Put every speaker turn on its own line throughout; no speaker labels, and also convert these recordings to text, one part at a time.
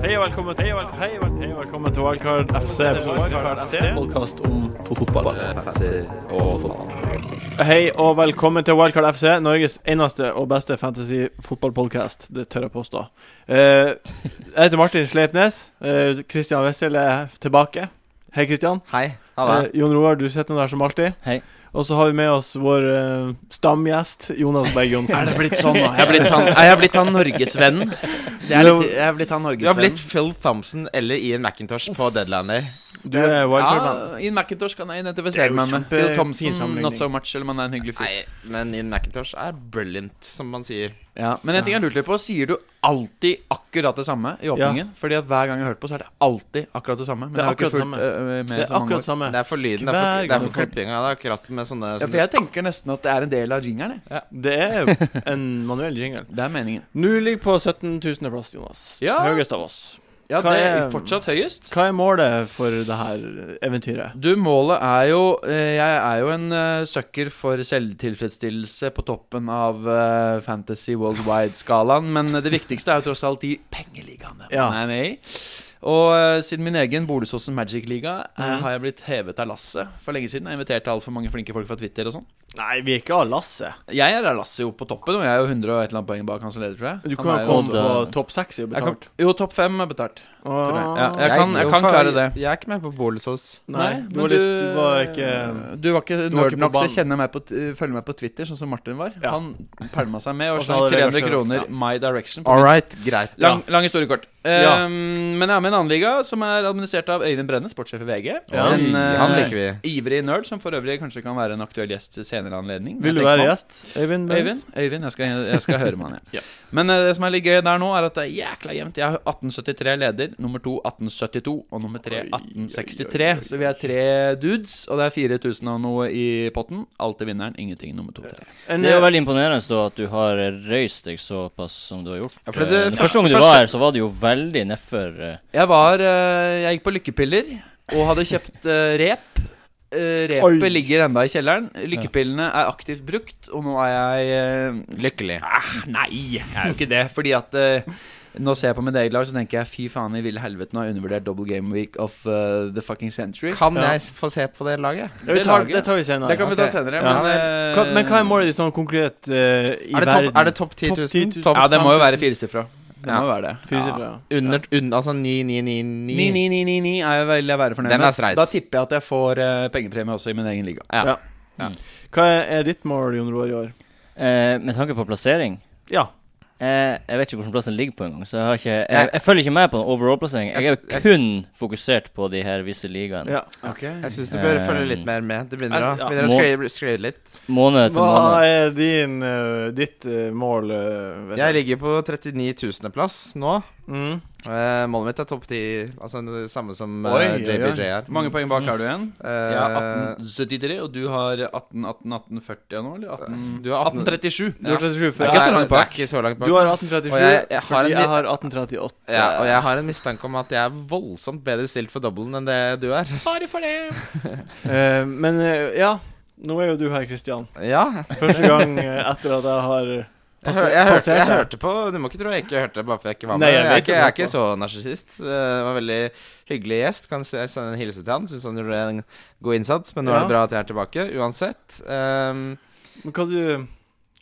Hei og velkommen til Wildcard Hei og vel- hei og velkommen til Wildcard FC. Wildcard FC.
Podkast om fotball.
Hei og velkommen til Wildcard FC, Norges eneste og beste fantasy-fotballpodkast. Det tør jeg påstå. Eh, jeg heter Martin Sleipnes. Eh, Christian Wessel er tilbake. Hei, Christian.
Hei.
Eh, Jon Roar, du sitter der som alltid.
Hei.
Og så har vi med oss vår eh, stamgjest, Jonas Berg
Er
Johnsen.
det blitt sånn nå? Jeg er blitt han, er jeg blitt han Norgesvennen. Det er litt, jeg er blitt han
Du har blitt
Norgesvennen.
Phil Thompson eller Ian McIntosh på deadline day.
Du er wildcard-mann.
Ja, Ian McIntosh kan jeg
Det er jo
identifisere meg med.
kjempe-
Phil
fin
Thompson,
sammenligning.
not so much, eller man er en hyggelig fyr.
Nei, men Ian McIntosh er brilliant, som man sier.
Ja, men en ting jeg lurte litt på, sier du alltid akkurat det samme i åpningen? Fordi at hver gang jeg har hørt på, så er det alltid akkurat det samme. Men
Det er
jeg har ikke
akkurat
fulgt,
samme.
øh, med
Det er
så mange år.
akkurat samme.
Det er for lyden, det er
Hver
for, det er for
gang.
klippinga. Det er akkurat med sånne
Ja, for jeg tenker nesten at det er en del av ringeren, jeg.
Det er en manuell jingle.
Det er meningen.
Nå ligger på 17 000. plass, Jonas.
Ja.
Høyest av oss.
Ja,
Hva
det er
er-
fortsatt høyest.
Hva er målet for det her eventyret?
Du, målet er jo eh, Jeg er jo en eh, søkker for selvtilfredsstillelse på toppen av eh, Fantasy Worldwide-skalaen, men det viktigste er jo tross alt de pengeligaene man
Ja.
er med i. Og eh, siden min egen Bolesåsen Magic-liga eh,
Mhm.
har jeg blitt hevet av lasset for lenge siden. Jeg inviterte altfor mange flinke folk fra Twitter og sånn.
Nei, vi er ikke av lasset.
Jeg er av lasset jo på toppen, og jeg er jo 100 og et eller annet poeng bak han som leder, tror jeg.
Du
Han
kan
er
jo
jo
komme på
åtte-
topp seks i
Jeg kan-
betalt.
Jo, topp fem er betalt.
Åh.
meg. Ja, jeg- kan- kan klare det.
Jeg er ikke med på Bolesås.
Nei, du var, litt, du var ikke
Du var ikke
du var
nerd
ikke på
nok til å
banen.
kjenne meg på, t- følge meg på Twitter, sånn som Martin var.
Ja.
Han pælma seg med og
Og så
sang
hadde det
300
kanskje-
kroner
ja.
my direction. på
All
Twitter.
right, greit.
Lang, lang historie kort.
Ja.
Ehm, men jeg er med i en annen liga som er administrert av Øyvind Brenne, sportssjef i VG.
Ja.
En,
Oi,
eh,
han liker vi.
Ivrig nerd, som for øvrig kanskje kan være en aktuell gjest til senere anledning. Jeg
Vil du
tenker
være
på han.
gjest, Øyvind?
Øyvind, Øyvind jeg, skal, jeg skal høre med han,
Ja.
ja. Men eh, det som er litt gøy der nå, er at det er jækla jevnt. Jeg er 1873 leder, nummer to 1872, og nummer tre
Oi, oi, oi, oi.
1863. Så vi er tre dudes, og det er 4000 og noe i potten. Alltid vinneren, ingenting nummer to. Tre.
En,
Det er jo veldig imponerende da at du har røyst deg såpass som du har gjort.
Ja, for det-
Eh, den
det-
første gang du
første-
var her, så var du jo veldig nedfor eh,
Jeg var eh, Jeg gikk på lykkepiller og hadde kjøpt eh, rep. Eh, repet
Oi.
ligger enda i kjelleren. Lykkepillene er aktivt brukt, og nå er jeg eh,
Lykkelig.
Ah, nei, jeg er jo ikke det. Fordi at eh, nå ser jeg på mitt eget lag, så tenker jeg fy faen i ville helvete, nå har jeg undervurdert double game week of eh, the fucking century.
Kan
Ja.
jeg få se på det laget?
det, tar, det tar vi
det
senere.
kan vi
ok.
ta senere.
Ja.
Men, eh,
Hva, men hva er målet ditt sånn konkret eh, i
Er det
verden?
topp er det topp 10
Topp 10 000.
000? Topp
Ja, det må jo
5000.
være firesifra. Det
Ja.
må jo være det.
Fysisk, ja.
Under, under altså
9,
9999.
9, 9, 9, 9 er jeg veldig være fornøyd
Den er
med.
streit.
Da tipper jeg at jeg får eh, pengepremie også i min egen liga.
Ja.
Ja. Hva er, er ditt mål, Jon Roar, i år?
eh, Med tanke på plassering
Ja.
eh, Jeg vet ikke hvordan plassen ligger på engang, så jeg, har ikke, jeg, jeg følger ikke med på den overall-plasseringen. Jeg er
Jeg
jo
s- jeg
kun fokusert på de her visse ligaene.
ja.
Jeg syns du bør
Eh,
følge litt mer med. Det begynner å
altså, ja.
begynner å
Må-
skli- skli ut litt.
Måned etter
Hva
måned.
er din, eh, ditt eh, mål? eh, vet
Jeg
du?
ligger på 39 000.-plass nå.
mm.
Eh, målet mitt er topp 10, altså det samme som eh,
Oi, oi, oi.
JBJ er.
Hvor mange poeng bak har du igjen?
Eh,
Jeg har 1873, og du har 18, 18, 1840 nå, eller? Mm. 18,
Du har 18
1837.
Du har 37
Det
er
før.
er
ikke så
det
langt
er
bak.
ikke så langt bak.
Du har eh, 1837
Og jeg- jeg har
fordi
en
jeg
li-
har 1838.
ja, og jeg har en mistanke om at jeg er voldsomt bedre stilt for doublen enn det du er.
Bare for det.
Eh, men eh, ja, nå er jo du her, Kristian.
Ja.
Første gang eh, etter at jeg har
Jeg, hør, jeg, hørte, jeg
deg.
hørte på Du må ikke tro jeg ikke hørte bare fordi jeg ikke var med.
Nei, jeg
jeg, er
vet
ikke,
ikke
jeg er
hvorfor.
ikke så narsissist. Eh, Det var en veldig hyggelig gjest. Kan se- sende en hilsen til han. Syns han gjorde en god innsats, men nå er
Ja.
det bra at jeg er tilbake uansett. Um,
Men hva du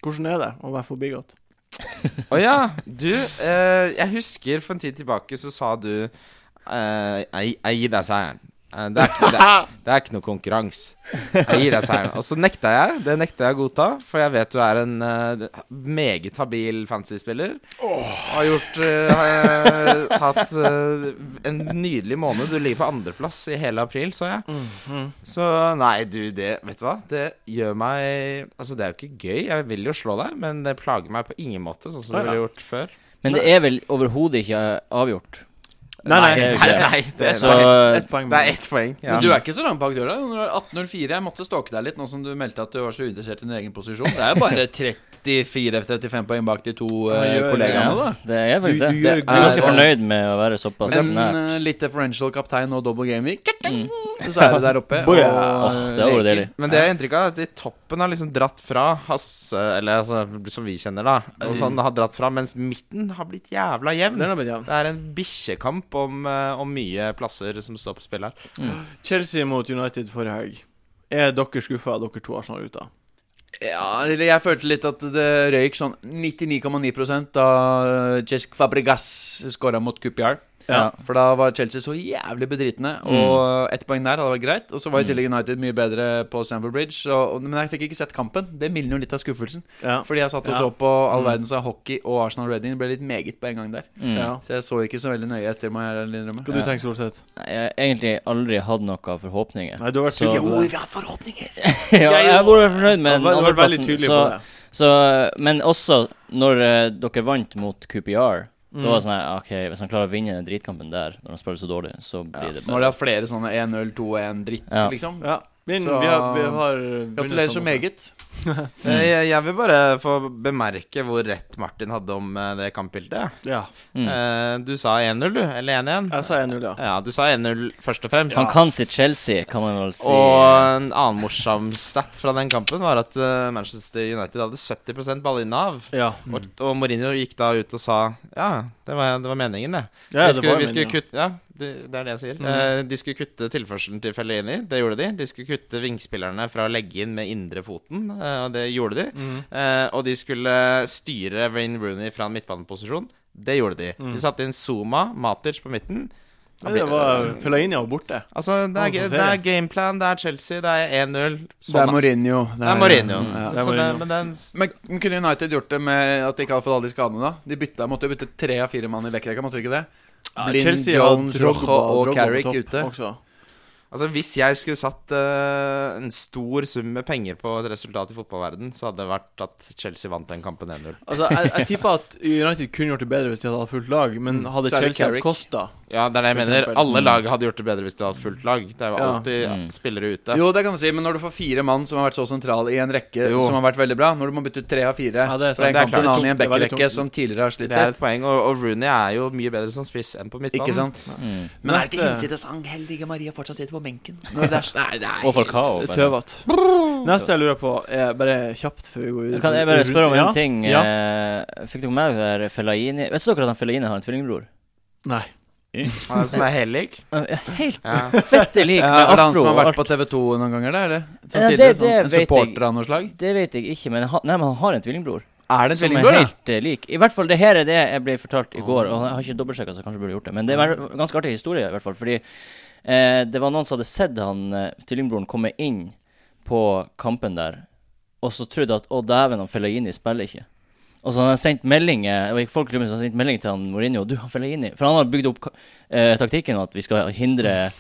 Hvordan er det å være forbigått?
Å ja, du eh, Jeg husker for en tid tilbake så sa du eh, Jeg jeg gir deg seieren. Eh, det, er ikke, det, er- det er ikke noe konkurranse. Jeg gir deg seieren. Og så nekta jeg. Det nekta jeg å godta, for jeg vet du er en eh, meget habil fantasyspiller. Har gjort eh, har, eh, Hatt eh, en nydelig måned. Du ligger på andreplass i hele april, så jeg.
Mhm.
Så nei, du, det Vet du hva? Det gjør meg Altså, det er jo ikke gøy. Jeg vil jo slå deg, men det plager meg på ingen måte, sånn som
Ja,
det
ja.
ville gjort før.
Men det er vel overhodet ikke eh, avgjort.
Nei, nei.
det er jo
nei,
ikke det.
nei, det, er-
Så
Ett poeng.
det er ett poeng. Ja.
Men du er ikke så langt bak døra. Du er 18.04. Jeg måtte stalke deg litt nå som du meldte at du var så uinteressert i din egen posisjon. Det er jo bare 34-35 poeng bak de to eh,
gjør det.
kollegaene, da.
det er
Du-
faktisk det.
du
det.
gjør
Jeg er ganske
god-
fornøyd med å være såpass
Men
nært.
eh, litt differential kaptein og double game week,
Mm.
så er du der oppe.
Boy, ja.
Åh, det hadde vært deilig.
Men det jeg har inntrykk av, er at de toppen har liksom dratt fra Hasse, eller altså, som vi kjenner, da. Og sånn har dratt fra, mens midten har blitt jævla jevn.
Den har blitt jevn.
Det er en bikkjekamp om, eh, om mye plasser som står på spill her.
Chelsea mot United forrige helg. Er dere skuffa av dere to Arsenal-gutter?
Ja, eller jeg følte litt at det røyk sånn 99,9 da Cesc Fabregas skåra mot Coopyard.
Ja.
For da var Chelsea så jævlig bedritne, og ett poeng der hadde vært greit. Og så var i tillegg United mye bedre på Stamford Bridge, og, men jeg fikk ikke sett kampen. Det mildner jo litt av skuffelsen.
Ja.
Fordi jeg satt og
Ja.
så på all verdens av hockey og Arsenal Reading. Det ble litt meget på en gang der.
Mm.
ja.
Så jeg så ikke så veldig nøye etter, må jeg ærlig innrømme.
Hva du tenker Solseth?
Nei, Jeg har egentlig aldri hatt noen forhåpninger.
Nei, du har vært
Så-
tydelig på det.
vi hadde forhåpninger!
ja, jeg har vært fornøyd med
Du
den
har vært veldig
andreplassen,
tydelig på
så,
det.
så, men også når eh, dere vant mot QPR.
Mm.
Da var det sånn her, OK, hvis han klarer å vinne den dritkampen der, når han spiller så dårlig, så blir det
Nå har de hatt flere sånne 1-0, 2-1-dritt,
Ja.
liksom.
Ja. Men
Så-
vi har, vi har vunnet
Gratulerer så
sånn også.
meget.
Eh, Jeg, jeg vil bare få bemerke hvor rett Martin hadde om eh, det kampbildet.
Ja.
Mm.
Eh, Du sa 1-0, du. Eller 1-1.
Jeg sa 1-0, ja.
Ja, du sa 1-0 først og fremst.
Han kan sitt Chelsea, kan man vel si.
Og en annen morsom stat fra den kampen var at eh, Manchester United hadde 70 ballinnehav.
Ja,
Og, og Mourinho gikk da ut og sa Ja, det var, det var meningen, det.
ja
vi skulle,
var Mm.
vi
min,
skulle
ja.
kutte Ja, det, det er det jeg sier. Eh, de skulle kutte tilførselen til Fellini. Det gjorde de. De skulle kutte vingspillerne fra å legge inn med indre foten, eh, og det gjorde de.
Mm.
Eh, og de skulle styre Wayne Rooney fra en midtbaneposisjon. Det gjorde de. De satte inn Zuma, Matic på midten.
Men Mm. Det var Fellaini var borte.
Altså, det
Han
er,
som
ge-
ferie.
det er gameplan, det er Chelsea, det er 1-0.
det er
Sånn, altså.
Mourinho.
Det er Mourinho.
Ja.
Mm. Det er
Så det,
Mourinho.
men den
Men men kunne United gjort det med at de ikke hadde fått alle de skadene, da? De bytta, måtte jo bytte tre av fire mann i backrekka, måtte de ikke det?
Ja,
Blind,
har
Jones,
Drogba-
Rojo og
Drogba på
Carrick
topp
ute.
Også.
Altså, hvis jeg skulle satt eh, en stor sum med penger på et resultat i fotballverden, så hadde det vært at Chelsea vant den kampen 1-0.
Altså, jeg, jeg tipper at United kunne gjort det bedre hvis de hadde hatt fullt lag, men hadde
Så er det
Chelsea hatt
Carrick.
Costa
Ja, det er det jeg
For
mener.
eksempel.
Alle lag hadde gjort det bedre hvis de hadde hatt fullt lag. Det er jo
Ja.
alltid
Mm.
spillere ute.
Jo, det kan du si, men når du får fire mann som har vært så sentrale i en rekke
Jo.
som har vært veldig bra, når du må bytte ut tre av fire
Ja, det er sant.
fra en
Det er
kamp til en
klart.
annen i en
Det er veldig
backrekke
tungt.
som tidligere har slitt
Det er
litt,
et poeng, og, og Rooney er jo mye bedre som spiss enn på midtbanen.
ikke sant?
mm.
Men er det Neste-
sang 'Hellige Maria' fortsatt sitter på benken? Når det er, nei, nei.
Og Falcao. bare.
Tøvete. Neste jeg lurer på, er bare kjapt før vi går videre
Kan jeg bare spørre om en
Ja.
ting?
Ja.
Eh, Fikk dere med dere Fellaini Vet dere at han Fellaini har en tvillingbror?
Nei.
Han er- Som er hellig.
Eh, Helt
Ja.
fette lik
Ja, er
med
det han
afro.
som har
og
vært
alt.
på TV2 noen ganger, da? Er det? Som
Ja, det-
tidligere,
det
sånn, en
vet jeg.
supporter av noe slag?
Det vet jeg ikke, men han, nei, men han har en tvillingbror.
Er det en
Som er
tvillingbror, da?
helt eh, lik. I hvert fall, det her er det jeg ble fortalt i går, og jeg har ikke dobbeltsjekka, så jeg kanskje burde gjort det. Men det var en ganske artig historie, i hvert fall. Fordi eh, det var noen som hadde sett han eh, tvillingbroren komme inn på kampen der, og så trodde at å, dæven, han Fellaini spiller ikke. Og så han har sendt meldinger og folk klubben, så har han sendt melding til han Mourinho du, han Fellaini For han har bygd opp ka- eh, taktikken at vi skal hindre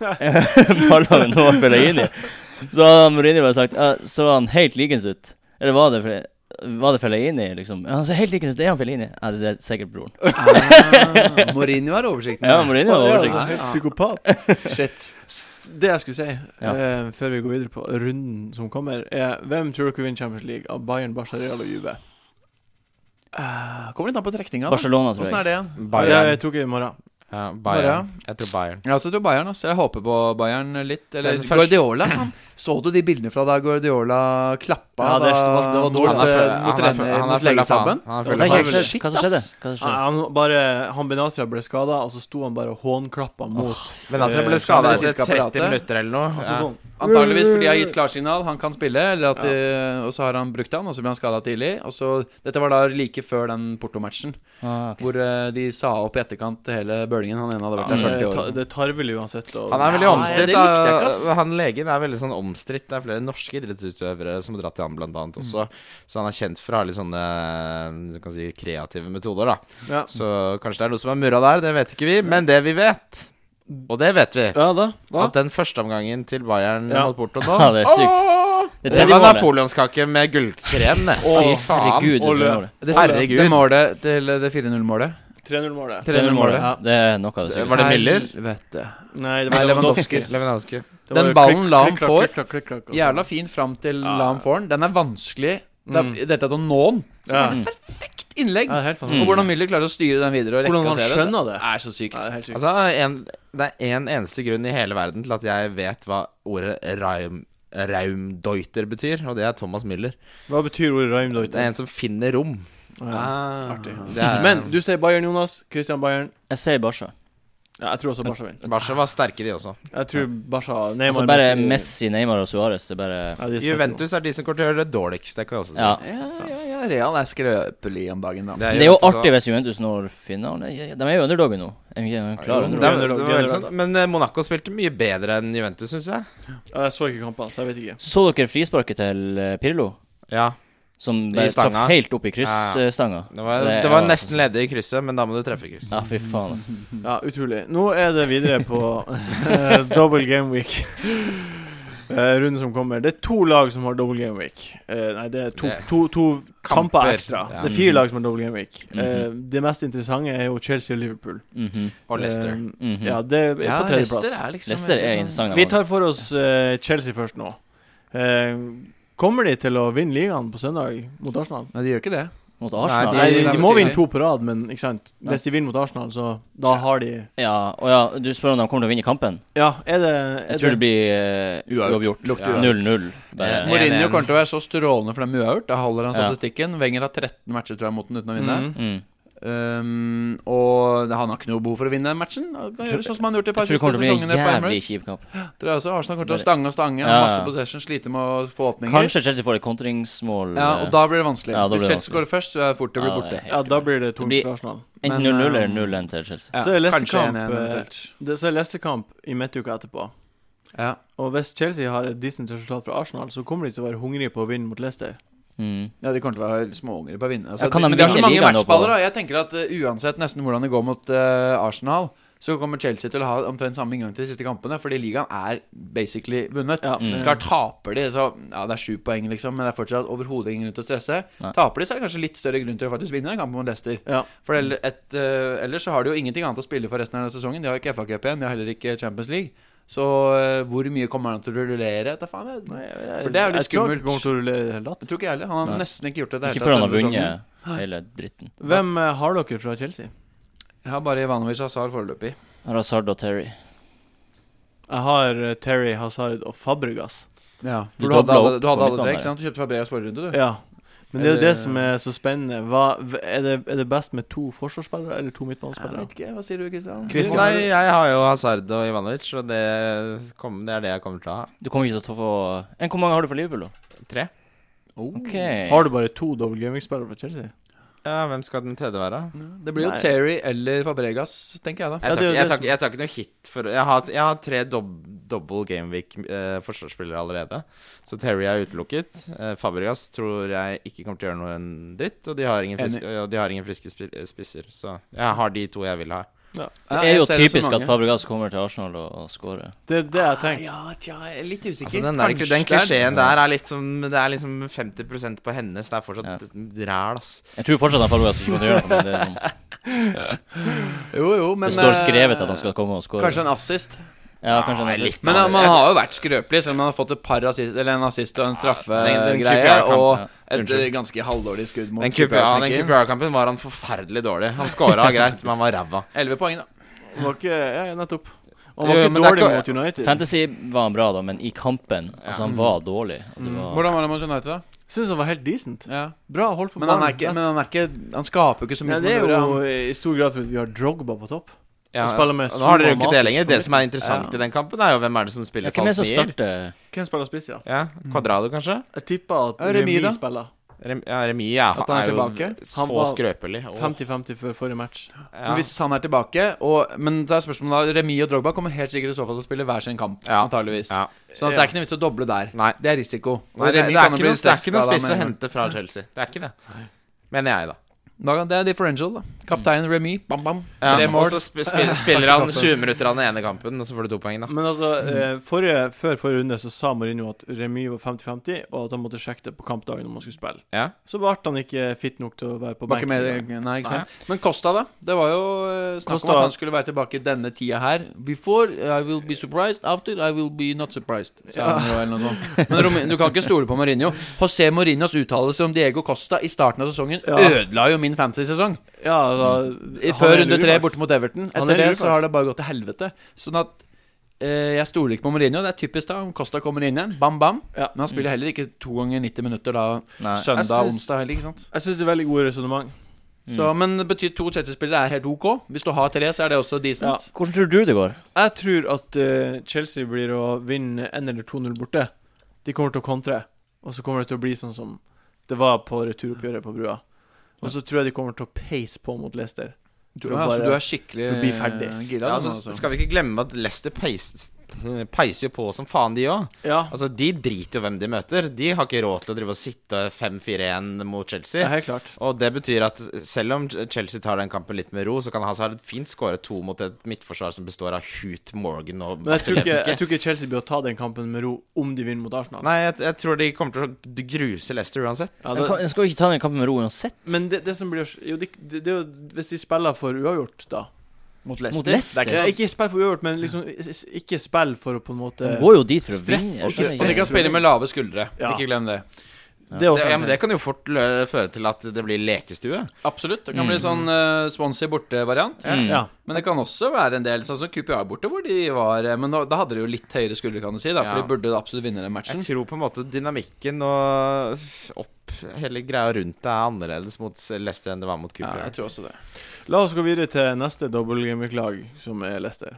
eh, ballene nå Fellaini. Så hadde Mourinho bare sagt «Ja, Så han helt likens ut. Eller var det Fe- var det Fellaini, liksom? Ja, Han ser helt likens ut. Er han Fellaini? Ja, det er sikkert broren.
Ah, Mourinho har oversikten.
Ja, Mourinho har
Ja,
oversikt.
altså, helt
Ja.
psykopat.
Shit.
Det jeg skulle si,
Ja.
eh, før vi går videre på runden som kommer, er hvem tror dere vinner Champions League av Bayern, Barca, Real og Juve?
Eh, Kommer litt an på trekninga. da.
Barcelona, tror
Åssen er
jeg.
det igjen?
Jeg,
Bayern.
jeg tok det i morgen.
Ja, Bayern. Jeg tror Bayern.
Jeg også tror Bayern. ass. Jeg håper på Bayern litt. Eller
Den første-
Guardiola. Han. Så du de bildene fra da Guardiola klappa
Ja, det er- det
da,
var
mot,
dårlig.
Han er
eh,
full- han
mot,
er full-
renner-
han er full
mot
av faen.
leggestabben?
Han er
Det
full
er
av faen.
ikke helt
Shit,
skjedd. Hva som skjedde?
ass.
Hva som
Han,
skjedde?
han bare, han Benatia ble skada, og så sto han bare og hånklappa mot
Men altså, jeg
Eh,
ble skada
det
etter
medisinske
30
apparatet.
minutter eller noe.
altså,
Ja.
sånn.
Antageligvis fordi de har gitt klarsignal, han kan spille, eller at de, og så har han brukt han, og så ble han skada tidlig. Og så, dette var da like før den Porto-matchen,
Ah, ok.
hvor eh, de sa opp i etterkant hele bølingen. Han ene hadde
Det
vært
er
der
eh,
40 år.
ta-
og sånn.
Det er tarvelig uansett. Og,
Han er veldig
Ja, det
omstridt.
likte jeg ikke, ass.
da. Han legen er veldig sånn omstridt. Det er flere norske idrettsutøvere som har dratt til han, blant annet også. Så han er kjent for å ha litt sånne eh, du kan si, kreative metoder, da.
ja.
Så kanskje det er noe som er murra der, det vet ikke vi. Men det vi vet, og det vet vi,
ja da. Hva?
at den førsteomgangen til Bayern
Ja.
mot Porto
Ja,
nå
det er sykt. Det
det
tredje
var
målet.
napoleonskake med gullkrem. det. Fy faen.
Herregud. det
Og
tredje
løp.
målet.
Det siste
Herregud.
eh, det målet til det 4-0-målet
3-0-målet.
3-0-målet.
Ja.
Det er noe av det
Var
sykeste.
det Miller?
Helvete.
Nei, det
Nei,
var
Lewandowski.
Lewandowskis. Det
Lewandowski.
var
Den
jo
ballen
klikk,
la
klikk,
han
klakk,
får.
klikk, klakk, klikk, altså. klakk, og
Jævla fin fram til
Ja.
Lam får den. Den er vanskelig. Det er,
Mm.
Dette er til å nå
sånn.
den.
Ja.
Mm.
Innlegg.
Ja, det er helt
Mm.
Og
fantastisk.
hvordan Müller klarer å styre den videre og rekke
Hvordan
å
han
se det.
skjønner det.
Det er så sykt.
Ja, det er helt sykt.
Altså, en, det er én eneste grunn i hele verden til at jeg vet hva ordet raum, raumdeuter betyr, og det er Thomas Müller.
Hva betyr ordet
Det er
Reimdeuter?
en som finner rom.
Ja.
Ah.
Artig.
Det er,
Men du sier Bayern, Jonas. Christian Bayern.
Jeg ser Barca.
Ja, jeg tror også Barca vinner.
Barca var sterke, de også.
Jeg tror Barca Neymar
Altså bare Messi, Neymar og Suárez. Det er bare
Ja, de er sterke nå.
Juventus er de som kommer til å gjøre det dårligst, det kan jeg også si.
Ja.
Ja, ja, ja, Real er skrøpelig om dagen, da.
Det er jo
Juventus også.
artig hvis Juventus når finalen. De er jo underdogger nå. Er de ikke en
Jo,
klar
det,
underdog.
er-
underdog?
det var veldig
Underdog.
sant. Men eh, Monaco spilte mye bedre enn Juventus, syns jeg.
Ja, Jeg så ikke kampene, så jeg vet ikke.
Så dere frisparket til eh, Pirlo?
Ja,
Som
I
bare traff
stanga?
helt opp i eh,
Ja, ja.
kryssstanga?
Det var,
Det
det var
var-
nesten ledig i krysset, men da må du treffe i krysset.
Ja, fy faen, altså.
Ja, utrolig. Nå er det videre på eh, double game week. Eh, runden som kommer. Det er to lag som har double game week. Eh, nei, det er to,
Det-
to, to kamper.
Kamper.
ekstra.
Ja.
Det er fire lag som har double game week. Eh,
Mhm.
det mest interessante er jo Chelsea og Liverpool.
Mhm,
Og Leicester.
Eh,
mhm.
ja, det er
Ja,
på
Leicester
tredjeplass.
er liksom
Leicester er
liksom-
interessant.
Vi tar for oss eh, Chelsea først nå. Eh, kommer de til å vinne ligaen på søndag mot Arsenal?
Nei, de gjør ikke det.
Mot
Nei,
Arsenal?
Nei, de,
de-
de må
de-
vinne to på rad, men ikke sant?
Ja.
hvis de vinner mot Arsenal, så da har de
Ja, og ja, du spør om de kommer til å vinne kampen?
Ja, er det, er
Jeg tror
det
det blir eh,
Uavgjort.
uavgjort.
Lukter
Ja.
uavgjort.
0-0.
Ja,
Bare
det-
Mourinho
1-1.
kommer til å være så strålende for dem uavgjort. Da holder han
Ja.
statistikken. Wenger har 13 matcher tror jeg mot den uten å vinne.
Mhm.
mm.
Um, og det- han har ikke noe behov for å vinne den matchen. Han kan gjøre sånn som han har gjort de
Jeg
par
tror
siste
det kommer til å bli en
sesongene på
jævlig
Emirates.
kjip kamp.
Tror jeg også. Arsenal kommer til å
Bare-
stange og stange.
Ja, ja.
Masse possession, sliter med å få åpninger.
Kanskje Chelsea får et kontringsmål.
Ja,
eh,
og da blir det vanskelig.
Ja, da blir
Hvis
det
Chelsea går
vanskelig.
først, så er det fort det blir
Ja, det
borte.
er helt
Ja, da blir det tungt
blir-
for Arsenal.
Enten
Men,
0-0 eller
eh,
0-1 til Chelsea.
Ja,
Så er det
kanskje
Leicester-kamp,
1-1
eh,
eventuelt.
Det så er Leicester-kamp i midtuka etterpå.
Ja.
Og hvis Chelsea har et decent resultat fra Arsenal, så kommer de til å være hungrige på å vinne mot Leicester.
Mm.
Ja, de kommer til å være småunger på å vinne. Altså,
Ja, kan de
men de har så
vinne
mange
ligaen nå på-
matchballer. da. Jeg tenker at eh, uansett nesten hvordan det går mot eh, Arsenal, så kommer Chelsea til å ha omtrent samme inngang til de siste kampene, fordi ligaen er basically vunnet.
Ja,
Mm.
eh,
Klart taper de, så ja, det er sju poeng, liksom, men det er fortsatt overhodet ingen grunn til å stresse.
Nei.
Taper de, så er det kanskje litt større grunn til å faktisk vinne en kamp mot Leicester.
Ja.
For eller, et, eh, ellers så har de jo ingenting annet å spille for resten av sesongen. De har ikke FA-cup igjen, de har heller ikke Champions League. Så eh, hvor mye kommer han til å rullere? Vet da faen. Jeg,
Nei, jeg, jeg,
For det er
jeg
jo litt
tror ikke
skummelt.
det kommer til å rullere i det hele tatt.
jeg tror ikke jeg heller. Han har
Nei.
nesten ikke gjort det. i det hele
Ikke før
tatt
han har
denne sesongen.
vunnet hele dritten.
Hvem eh, har dere fra Chelsea?
Jeg har bare Ivanovic Hazar foreløpig.
Hazard og Terry.
Jeg har eh, Terry Hazard og Fabregas.
Ja.
De
For du hadde
dobla
alle,
opp
du hadde
på
alle tre,
midtbanen
ikke sant? Du kjøpte Fabregas forrige runde, du.
Ja. Men det er jo
Eller-
det som er så spennende. Hva, er, det, er det best med to forsvarsspillere eller to
Jeg
midtbanespillere?
vet ikke, Hva sier du, Kristian?
Christian.
Nei, jeg har jo Hazard og Ivanovic, og det, kom, det er det jeg kommer til å ha.
Du kommer ikke til å få Enn Hvor mange har du for Liverpool, da?
Tre.
Ok
Mm.
Har du bare to double gaming-spillere fra Chelsea?
Ja, Hvem skal den tredje være?
Det blir jo
Nei.
Terry eller Fabregas, tenker jeg da.
Ja,
Jeg
det
tar,
er jo
ikke- jeg
det
tar,
som-
ikke- jeg tar ikke noe hit for Jeg har, jeg har tre dob, double Gameweek-forsvarsspillere allerede. Så Terry er utelukket. Eh, Fabregas tror jeg ikke kommer til å gjøre noe en dritt. Og de har ingen friske, og de har ingen friske spi- eh, spisser. Så jeg har de to jeg vil ha.
Det
Ja,
er
jeg
jo
ser det så
typisk at
mange.
Fabregas kommer til Arsenal og, og scorer.
Det er det jeg tenker.
Ja, tja, jeg er litt usikker.
Altså, den, der, den
Kanskje det er-
klisjeen der er litt som Det er liksom 50 på hennes. Det er fortsatt ræl, ass.
Jeg tror fortsatt at Fabregas ikke kommer til å gjøre noe. men Det, er sånn,
Jo, jo, men
det står
eh,
skrevet at han skal komme og score.
Kanskje en assist.
Ja, kanskje en
Ja,
assist.
litt.
Men eh, man har jo vært skrøpelig, selv om man har fått et par assist, eller en assist og en
den- den
straffegreie.
QPR-kampen,
Og
ja.
et eh,
Unnskyld.
ganske halvdårlig skudd mot
Den QPR-kampen
QPR-snekken.
var han forferdelig dårlig. Han scora greit, men han var ræva.
11 poeng, da.
Han var ikke Ja, nettopp. Han
Jo,
var ikke
men det er
dårlig
ikke-
mot United.
Fantasy var han bra, da, men i kampen Altså, han var dårlig. Og det var
Mm. Hvordan var det mot United, da?
Syns han var helt decent.
Ja.
Bra holdt på
Men, han er
ballen.
ikke,
Rett.
men han er ikke Han skaper jo ikke så mye
Ja,
som
det
han
er
gjorde.
jo
Han-
i stor grad fordi vi har Drogba på topp.
Ja,
Og spiller med
og nå har dere jo
Zuma
ikke det
Matic
lenger.
på
Det
midten.
som er interessant
Ja.
i den kampen, er jo hvem er det som
ja,
spiller
Hvem er
falsk
det som
nier.
starter?
Hvem spiller spiss, ja?
Ja,
Mm.
Quadrado, kanskje?
Jeg tipper at
Ja, Remy,
Remy
da.
spiller.
Rem, ja, Remi ja,
At han er
er,
tilbake?
jo
Han
så
var
skrøpelig. Åh,
50-50 før forrige match.
ja.
Hvis han er tilbake og, Men da er spørsmålet da Remi og Drogba kommer helt sikkert i så fall til å spille hver sin kamp.
Ja.
Antageligvis
ja.
Så det er ikke noe vits å doble der.
Nei.
Det er risiko. Og
Nei det,
Remy
det, er
kan jo
ikke
bli
noe, det er ikke noe
stresskada
spiss å
med en gang.
hente fra Chelsea. Det er ikke det. Mener jeg, da.
Da, kan- det er differential, da. Kaptein Remy. Bam, bam.
Mm. Ja,
Tre
og
mål.
så sp sp spiller han 20 minutter av den ene kampen, og så får du to poeng, da.
Men altså, eh, forrige, før forrige runde så sa Mourinho at Remy var 50-50, og at han måtte sjekke det på kampdagen om han skulle spille.
Ja.
Så ble han ikke fit nok til å være på eh,
Var
benken.
ikke med,
i dag.
nei, ikke sant? Men Costa, da? Det var jo eh, snakk
Costa-
om at han skulle være tilbake denne tida her. Before I will be surprised, after I will be not surprised. Sa han jo, eller noe sånt. Men Rom- du kan ikke stole på Mourinho. José Mourinhos uttalelser om Diego Costa i starten av sesongen
Ja.
ødela jo min fantasy-sesong.
Ja, da,
I-
han er
Før runde tre
lurvaks.
borte mot Everton.
Han er
Etter det
lurvaks.
så har det bare gått til helvete. Sånn at eh, jeg stoler ikke på Mourinho. Det er typisk da om Costa kommer inn igjen. Bam, bam.
Ja.
Men han spiller heller ikke to ganger 90 minutter da
Nei.
søndag
Jeg syns-
onsdag heller, ikke sant.
Jeg syns det er veldig gode resonnement.
Så, men det betyr to Chelsea-spillere er helt ok. Hvis du har tre, så er det også decent.
Hvordan tror du det går?
Jeg tror at eh, Chelsea blir å vinne 1 eller 2-0 borte. De kommer til å kontre, og så kommer det til å bli sånn som det var på returoppgjøret på brua. Og så tror jeg de kommer til å peise på mot Leicester.
Du,
Tror
ja,
bare-
altså, du er skikkelig
for å bli ferdig.
eh, gira.
Ja,
du nå,
altså,
altså.
skal vi ikke glemme at Leicester peiser, peiser jo på som faen, de òg.
Ja,
Altså, de driter jo hvem de møter. De har ikke råd til å drive og sitte 5-4-1 mot
det
Chelsea.
er helt klart.
Og det betyr at selv om Chelsea tar den kampen litt med ro, så kan Hazard fint skåre to mot et midtforsvar som består av Hoot, Morgan og
Men jeg tror, ikke, jeg
Vasilevskij.
tror ikke Chelsea blir å ta den kampen med ro om de vinner mot Arsenal.
Nei, jeg, jeg tror de kommer til å gruse Leicester uansett.
Ja,
Jeg
da,
kan- jeg skal jo ikke ta den kampen med ro uansett.
Men det, det som blir Jo, det, det, det er jo hvis de spiller for uavgjort, da.
mot
Mot
Leicester.
Leicester.
Ja, ikke spill for uavgjort, men liksom is- ikke spill for å på en måte
De går jo dit for å
Stress
vinne.
og
jeg skjønner
Og de
ikke.
kan spille med lave skuldre.
Ja.
Ikke glem det.
Det er
Det,
også
ja, men det kan jo fort lø- føre til at det blir lekestue.
Absolutt. Det kan bli
Mm.
sånn eh, Swansea borte-variant.
Mm.
Ja.
Men det kan også være en del sånn som QPR borte, hvor de var eh, Men da, da hadde de jo litt høyere skuldre, kan du si, da, for
Ja.
de burde absolutt vinne den matchen.
Jeg tror på en måte dynamikken og opp hele greia rundt det er annerledes mot Leicester enn det var mot
Ja,
Cooper.
jeg tror også det.
La oss gå videre til neste dobbeltgamelag, som er Leicester.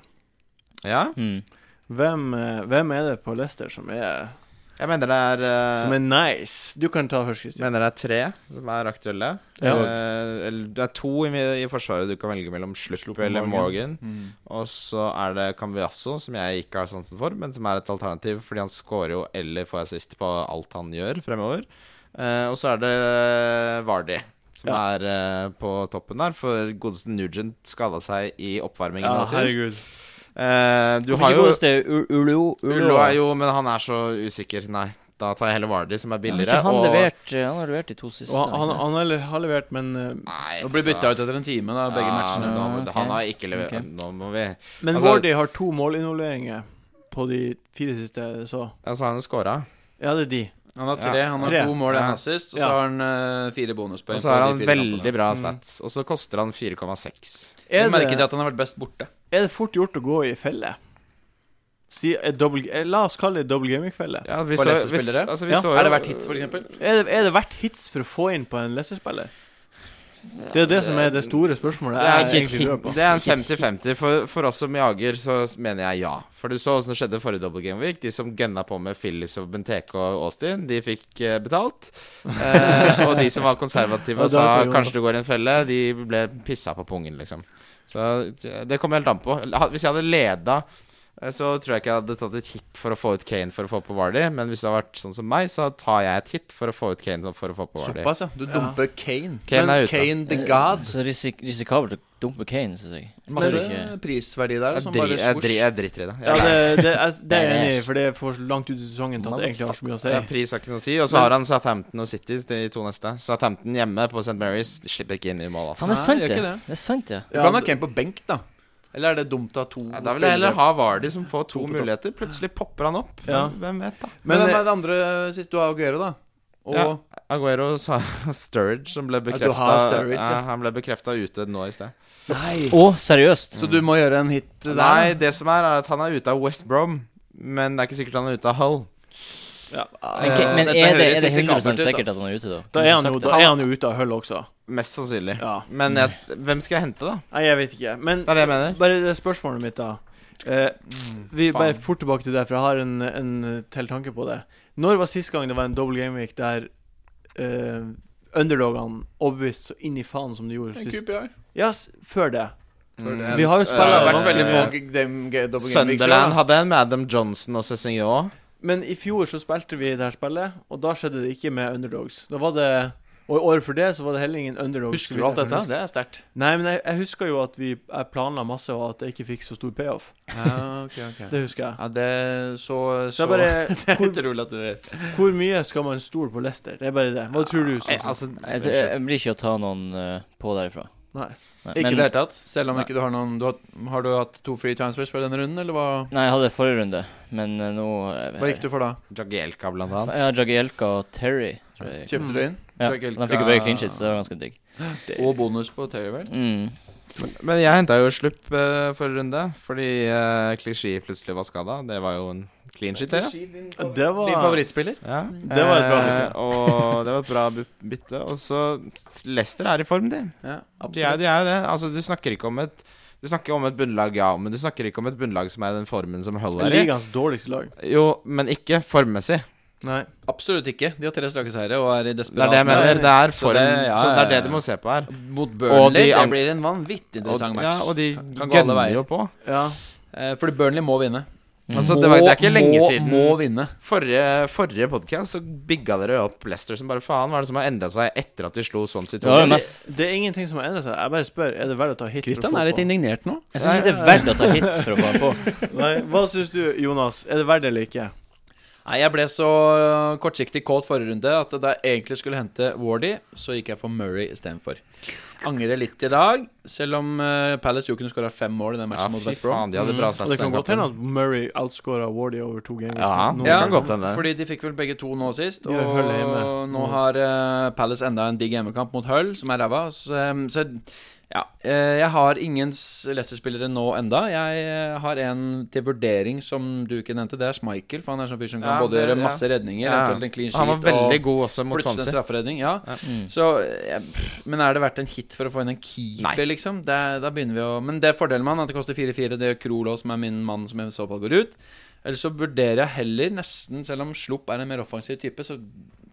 Ja,
Mm.
Hvem, eh, hvem er det på Leicester som er
jeg mener det er eh,
Som er nice? Du kan ta først, Christian.
mener det er tre som er aktuelle.
Ja.
Eh, eller det er to i, i forsvaret du kan velge mellom Slupp eller Morgan. Og så er det Cambiasso, som jeg ikke har sansen for, men som er et alternativ fordi han scorer jo eller får assist på alt han gjør fremover. Eh, og så er det Vardi, som
Ja.
er eh, på toppen der, for godeste Nugent skada seg i oppvarmingen.
Ja,
nå sist.
herregud.
Eh, du
Om
har
ikke
jo
godeste U- Ulo
Ullo er jo, men han er så usikker. Nei, da tar jeg heller Vardi, som er billigere.
Ja, han,
og-
levert, han har levert de to siste.
Og han, han,
ikke det?
han har le- har levert, men eh,
Nei,
Nå blir
altså,
bytta ut etter en time, da, begge
ja,
matchene.
nå,
og-
Han
ok.
har ikke levert
Ok.
Nå må vi
Men
Altså-
Wardy har to målinvolveringer på de fire siste, så
Ja, så har han scora.
Ja, det er de.
Han har
Ja.
tre. Han har
Tre.
to mål,
Ja.
en assist, og så
Ja.
har han eh, fire bonuspoeng.
Og så
på
har
de
han
fire
veldig
kampene.
bra
Mm.
stats. Og så koster han 4,6.
Er
Jeg merket
det,
at han har vært best borte.
er det fort gjort å gå i felle? Si, eh, double, eh, la oss kalle det double gaming-felle.
Ja, vi
For
så, vi,
Leicester-spillere?
altså, vi
Ja.
så
Er
jo-
det verdt hits, for eksempel?
Er det, er det verdt hits for å få inn på en leserspiller? Det er jo det som er det store spørsmålet.
Det
jeg
er ikke
egentlig lurer på.
Det er en 50-50. For, for oss som jager, så mener jeg ja. For du så åssen det skjedde forrige Double Game Week. De som gønna på med Phillips og Benteke og Austin, de fikk eh, betalt. Eh, og de som var konservative
Og da
og
sa
sa
Jonas.
kanskje du går i en felle, de ble pissa på pungen, liksom. Så eh, det kommer helt an på. Ha- Hvis jeg hadde leda eh, så tror jeg ikke jeg hadde tatt et hit for å få ut Kane for å få på Vardy. Men hvis det hadde vært sånn som meg, så tar jeg et hit for å få ut Kane for å få på Vardy.
Såpass, ja. Du dumper Kane.
Kane
Men
er ute.
Kane the God.
Eh, Så risik risikabelt å dumpe Kane, syns jeg.
Masse
Det er ikke-
prisverdi der.
Jeg,
Som
dri,
bare
jeg, dri,
svosj.
jeg driter i det. Jeg
Ja,
er lei.
det, det, er- det er jeg
Nei,
enig
det
i,
er-
for det er for langt ut i sesongen til at det egentlig har så mye å si.
Ja, pris har ikke noe å si. Og så
Men-
har han Southampton og City, de to neste. Southampton hjemme på St. Mary's de slipper ikke inn i mål, altså.
Faen, det er
Nei,
sant, det.
gjør ikke det.
Det er sant, det.
Du kan ha Kane på benk, da. Eller er det dumt å ha to
Ja, da vil jeg heller ha Vardy som får to
To på topp.
muligheter. Plutselig popper han opp.
Ja.
Hvem- Hvem vet, da.
Men
Men hvem
eh,
er det andre sist? Du har Aguero, da. Og
Ja, Aguero sa Sturridge, som ble
du har
bekrefta
Sturridge, ja.
Han ble bekrefta ute nå i sted.
Nei.
Å, seriøst.
Så du må gjøre en hit der?
Nei, det som er, er at han er ute av West Brom. Men det er ikke sikkert han er ute av Hull.
Men,
Eh,
men
dette
er, det,
høres
er det
risikabelt
100
ut,
sikkert at
ass.
han er ute, da?
da er han jo, da
Han-
er han jo ute av hull også.
Mest sannsynlig.
Ja.
Men jeg, hvem skal jeg hente, da?
Nei, jeg vet ikke. Men
Det er det jeg mener.
bare det spørsmålet mitt, da. Eh, vi
Mm. faen.
bare fort tilbake til det, for jeg har en, en til tanke på det. Når var sist gang det var en double game week der eh, underdogene overbeviste så inn i faen som de gjorde sist?
QPR.
Ja, s- før det.
Mm.
Vi har jo
Så,
spillet-
Det har
eh,
vært veldig få
vanskelig.
g- dem- g- double game weeks i år, da.
Sunderland hadde en med Adam Johnson og Cézinho.
Men i fjor så spilte vi det her spillet, og da skjedde det ikke med underdogs. Da var det Og i året for det så var det heller ingen underdogs.
Husker du alt dette? Det er sterkt.
Nei, men jeg, jeg husker jo at vi jeg planla masse, og at jeg ikke fikk så stor payoff.
Ja, ok, ok.
Det husker jeg.
Ja, det så,
Så
så
jeg bare hvor,
utrolig at du
hvor mye skal man stole på Lester? Det er bare det. Hva tror du?
Eh,
Susan?
altså,
Jeg, tror- jeg blir ikke å ta noen eh, på derifra.
Nei.
Nei,
Ikke i
men-
det hele tatt? Selv om
Nei.
ikke du har noen du har, har du hatt to free transfers på denne runden, eller hva,
Nei, jeg hadde forrige runde, men eh, nå eh,
hva gikk du for da?
Jagielka, blant annet.
Jeg har Jagielka og Terry, tror
Eh,
jeg.
Kjøpte du inn?
Ja,
Jagielka-
De fikk jo begge clean shit, så det var ganske digg.
Og bonus på Terry, vel?
Mm.
Men jeg henta jo slupp eh, forrige runde, fordi uh, Klisjé plutselig var skada. Det var jo en clean shit, det.
Det var
Din favorittspiller?
Ja.
Det var et bra bytte.
Eh, og det var et bra bu- bytte. Og så Leicester er i form, de.
Ja,
De er, de er jo det. Altså, du snakker ikke om et Du snakker om et bunnlag, ja, men du snakker ikke om et bunnlag som er i den formen som Hull er i.
Ligaens dårligste lag.
Jo, men ikke formmessig.
Nei.
Absolutt ikke. De har tre strake seire og er i
Det er
desperat
det jeg mener. Det er
Så
form. Så
det-
det,
ja,
er det
ja,
du
ja.
må se på her.
Mot Burnley.
de
det
an-
blir en vanvittig
Og,
interessant match.
ja, og de
Kan gå alle
gønner
veier.
jo på.
Ja.
Eh, Fordi Burnley må vinne.
Mm.
Altså, det, var, det er ikke
Må-
lenge
må,
siden
Må vinne.
Forrige, forrige podkast så bygga dere opp Leicester som bare faen. Hva er det som har endra seg etter at de slo Swansea
Det var jo
2?
mest
Det er ingenting som har endra seg. Jeg bare spør, er det verdt å ta hit? for å
Christian
få
er litt
på?
indignert nå.
Jeg syns ikke det er verdt å ta hit for å få han på.
Nei. Hva syns du, Jonas? Er det verdt det eller ikke?
Nei, Jeg ble så øh, kortsiktig kåt forrige runde at da jeg egentlig skulle hente Wardy, så gikk jeg for Murray istedenfor. Angrer litt i dag, selv om øh, Palace jo kunne skåra fem mål i
Ja,
den matchen mot
fy
West Brom. Mm.
faen, de hadde
Mm.
bra
Og det
stats.
kan
den
godt hende
kampen.
at Murray outscora Wardy over to games.
Ja,
Nå-
det kan godt hende.
Fordi de fikk vel begge to nå sist,
De
og
har Hull hjemme. Mm.
nå har øh, Palace enda en digg hjemmekamp mot Hull, som er ræva. Så, øh, så ja, øh, jeg har ingen s- Leicester-spillere nå enda. Jeg øh, har en til vurdering som du ikke nevnte. Det er Schmeichel, for han er sånn fyr som kan
Ja,
både
det-
gjøre
ja.
masse redninger,
Ja.
eventuelt en clean sheet
Han var veldig
og
god også mot
plutselig en
Swansea.
strafferedning. Ja,
Mm.
Så, eh, pff, men er det verdt en hit for å få inn en keeper,
Nei.
liksom? Det, er- da begynner vi å Men det er fordelen med han, at det koster 4-4. Det gjør Krolo, som er min mann, som i så fall går ut. Eller så vurderer jeg heller nesten, selv om Slupp er en mer offensiv type, så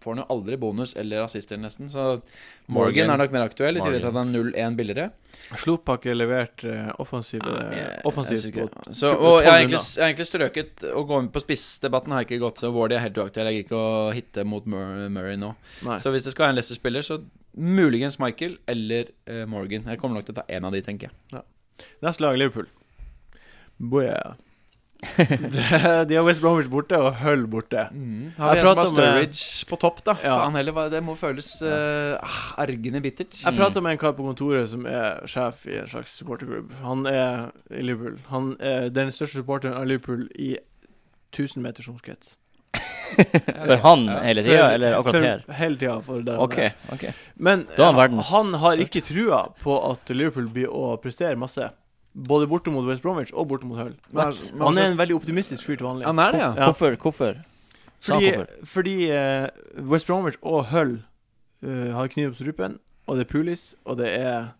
får han jo aldri bonus eller assister, nesten. Så Morgan,
Morgan.
er nok mer aktuell, i tillegg til at han er 0-1 billigere.
Slupp har ikke levert eh, offensiv eh,
Jeg
offensivt
synes ikke-
på
Så,
på
og jeg har,
tolv
egentlig, jeg har egentlig strøket å gå inn på spissdebatten, har jeg ikke gått til. Wardy er helt uaktuell. Jeg gidder ikke å hitte mot Mur- Murray nå.
Nei.
Så hvis det skal være en Leicester-spiller, så muligens Michael eller eh, Morgan. Jeg kommer nok til å ta én av de, tenker jeg.
Neste lag, Liverpool. Boja. De har West Bromwich borte og Hull borte.
Har
Jeg
vi en som har
prater med-
Sturridge eh, på topp, da?
Ja.
Faen heller, hva- det må føles eh, ah, argende bittert.
Jeg prata med en kar på kontoret som er sjef i en slags supportergroup. Han er i Liverpool. Han er den største supporteren av Liverpool i 1000 meters omkrets.
For han hele tida, eller akkurat
For-
her?
Hele tida. For der.
Ok, ok.
Men
Da er han
eh,
verdens
han har
største.
ikke trua på at Liverpool blir å prestere masse. Både borte mot West Bromwich og borte mot Hull.
What?
Han er en veldig optimistisk fyr til vanlig.
Han er det, ja.
Ja.
Hvorfor? Hvorfor? Sa han
Fordi,
hvorfor?
fordi eh, West Bromwich og Hull eh, har kniv på strupen, og det er Pulis, og det er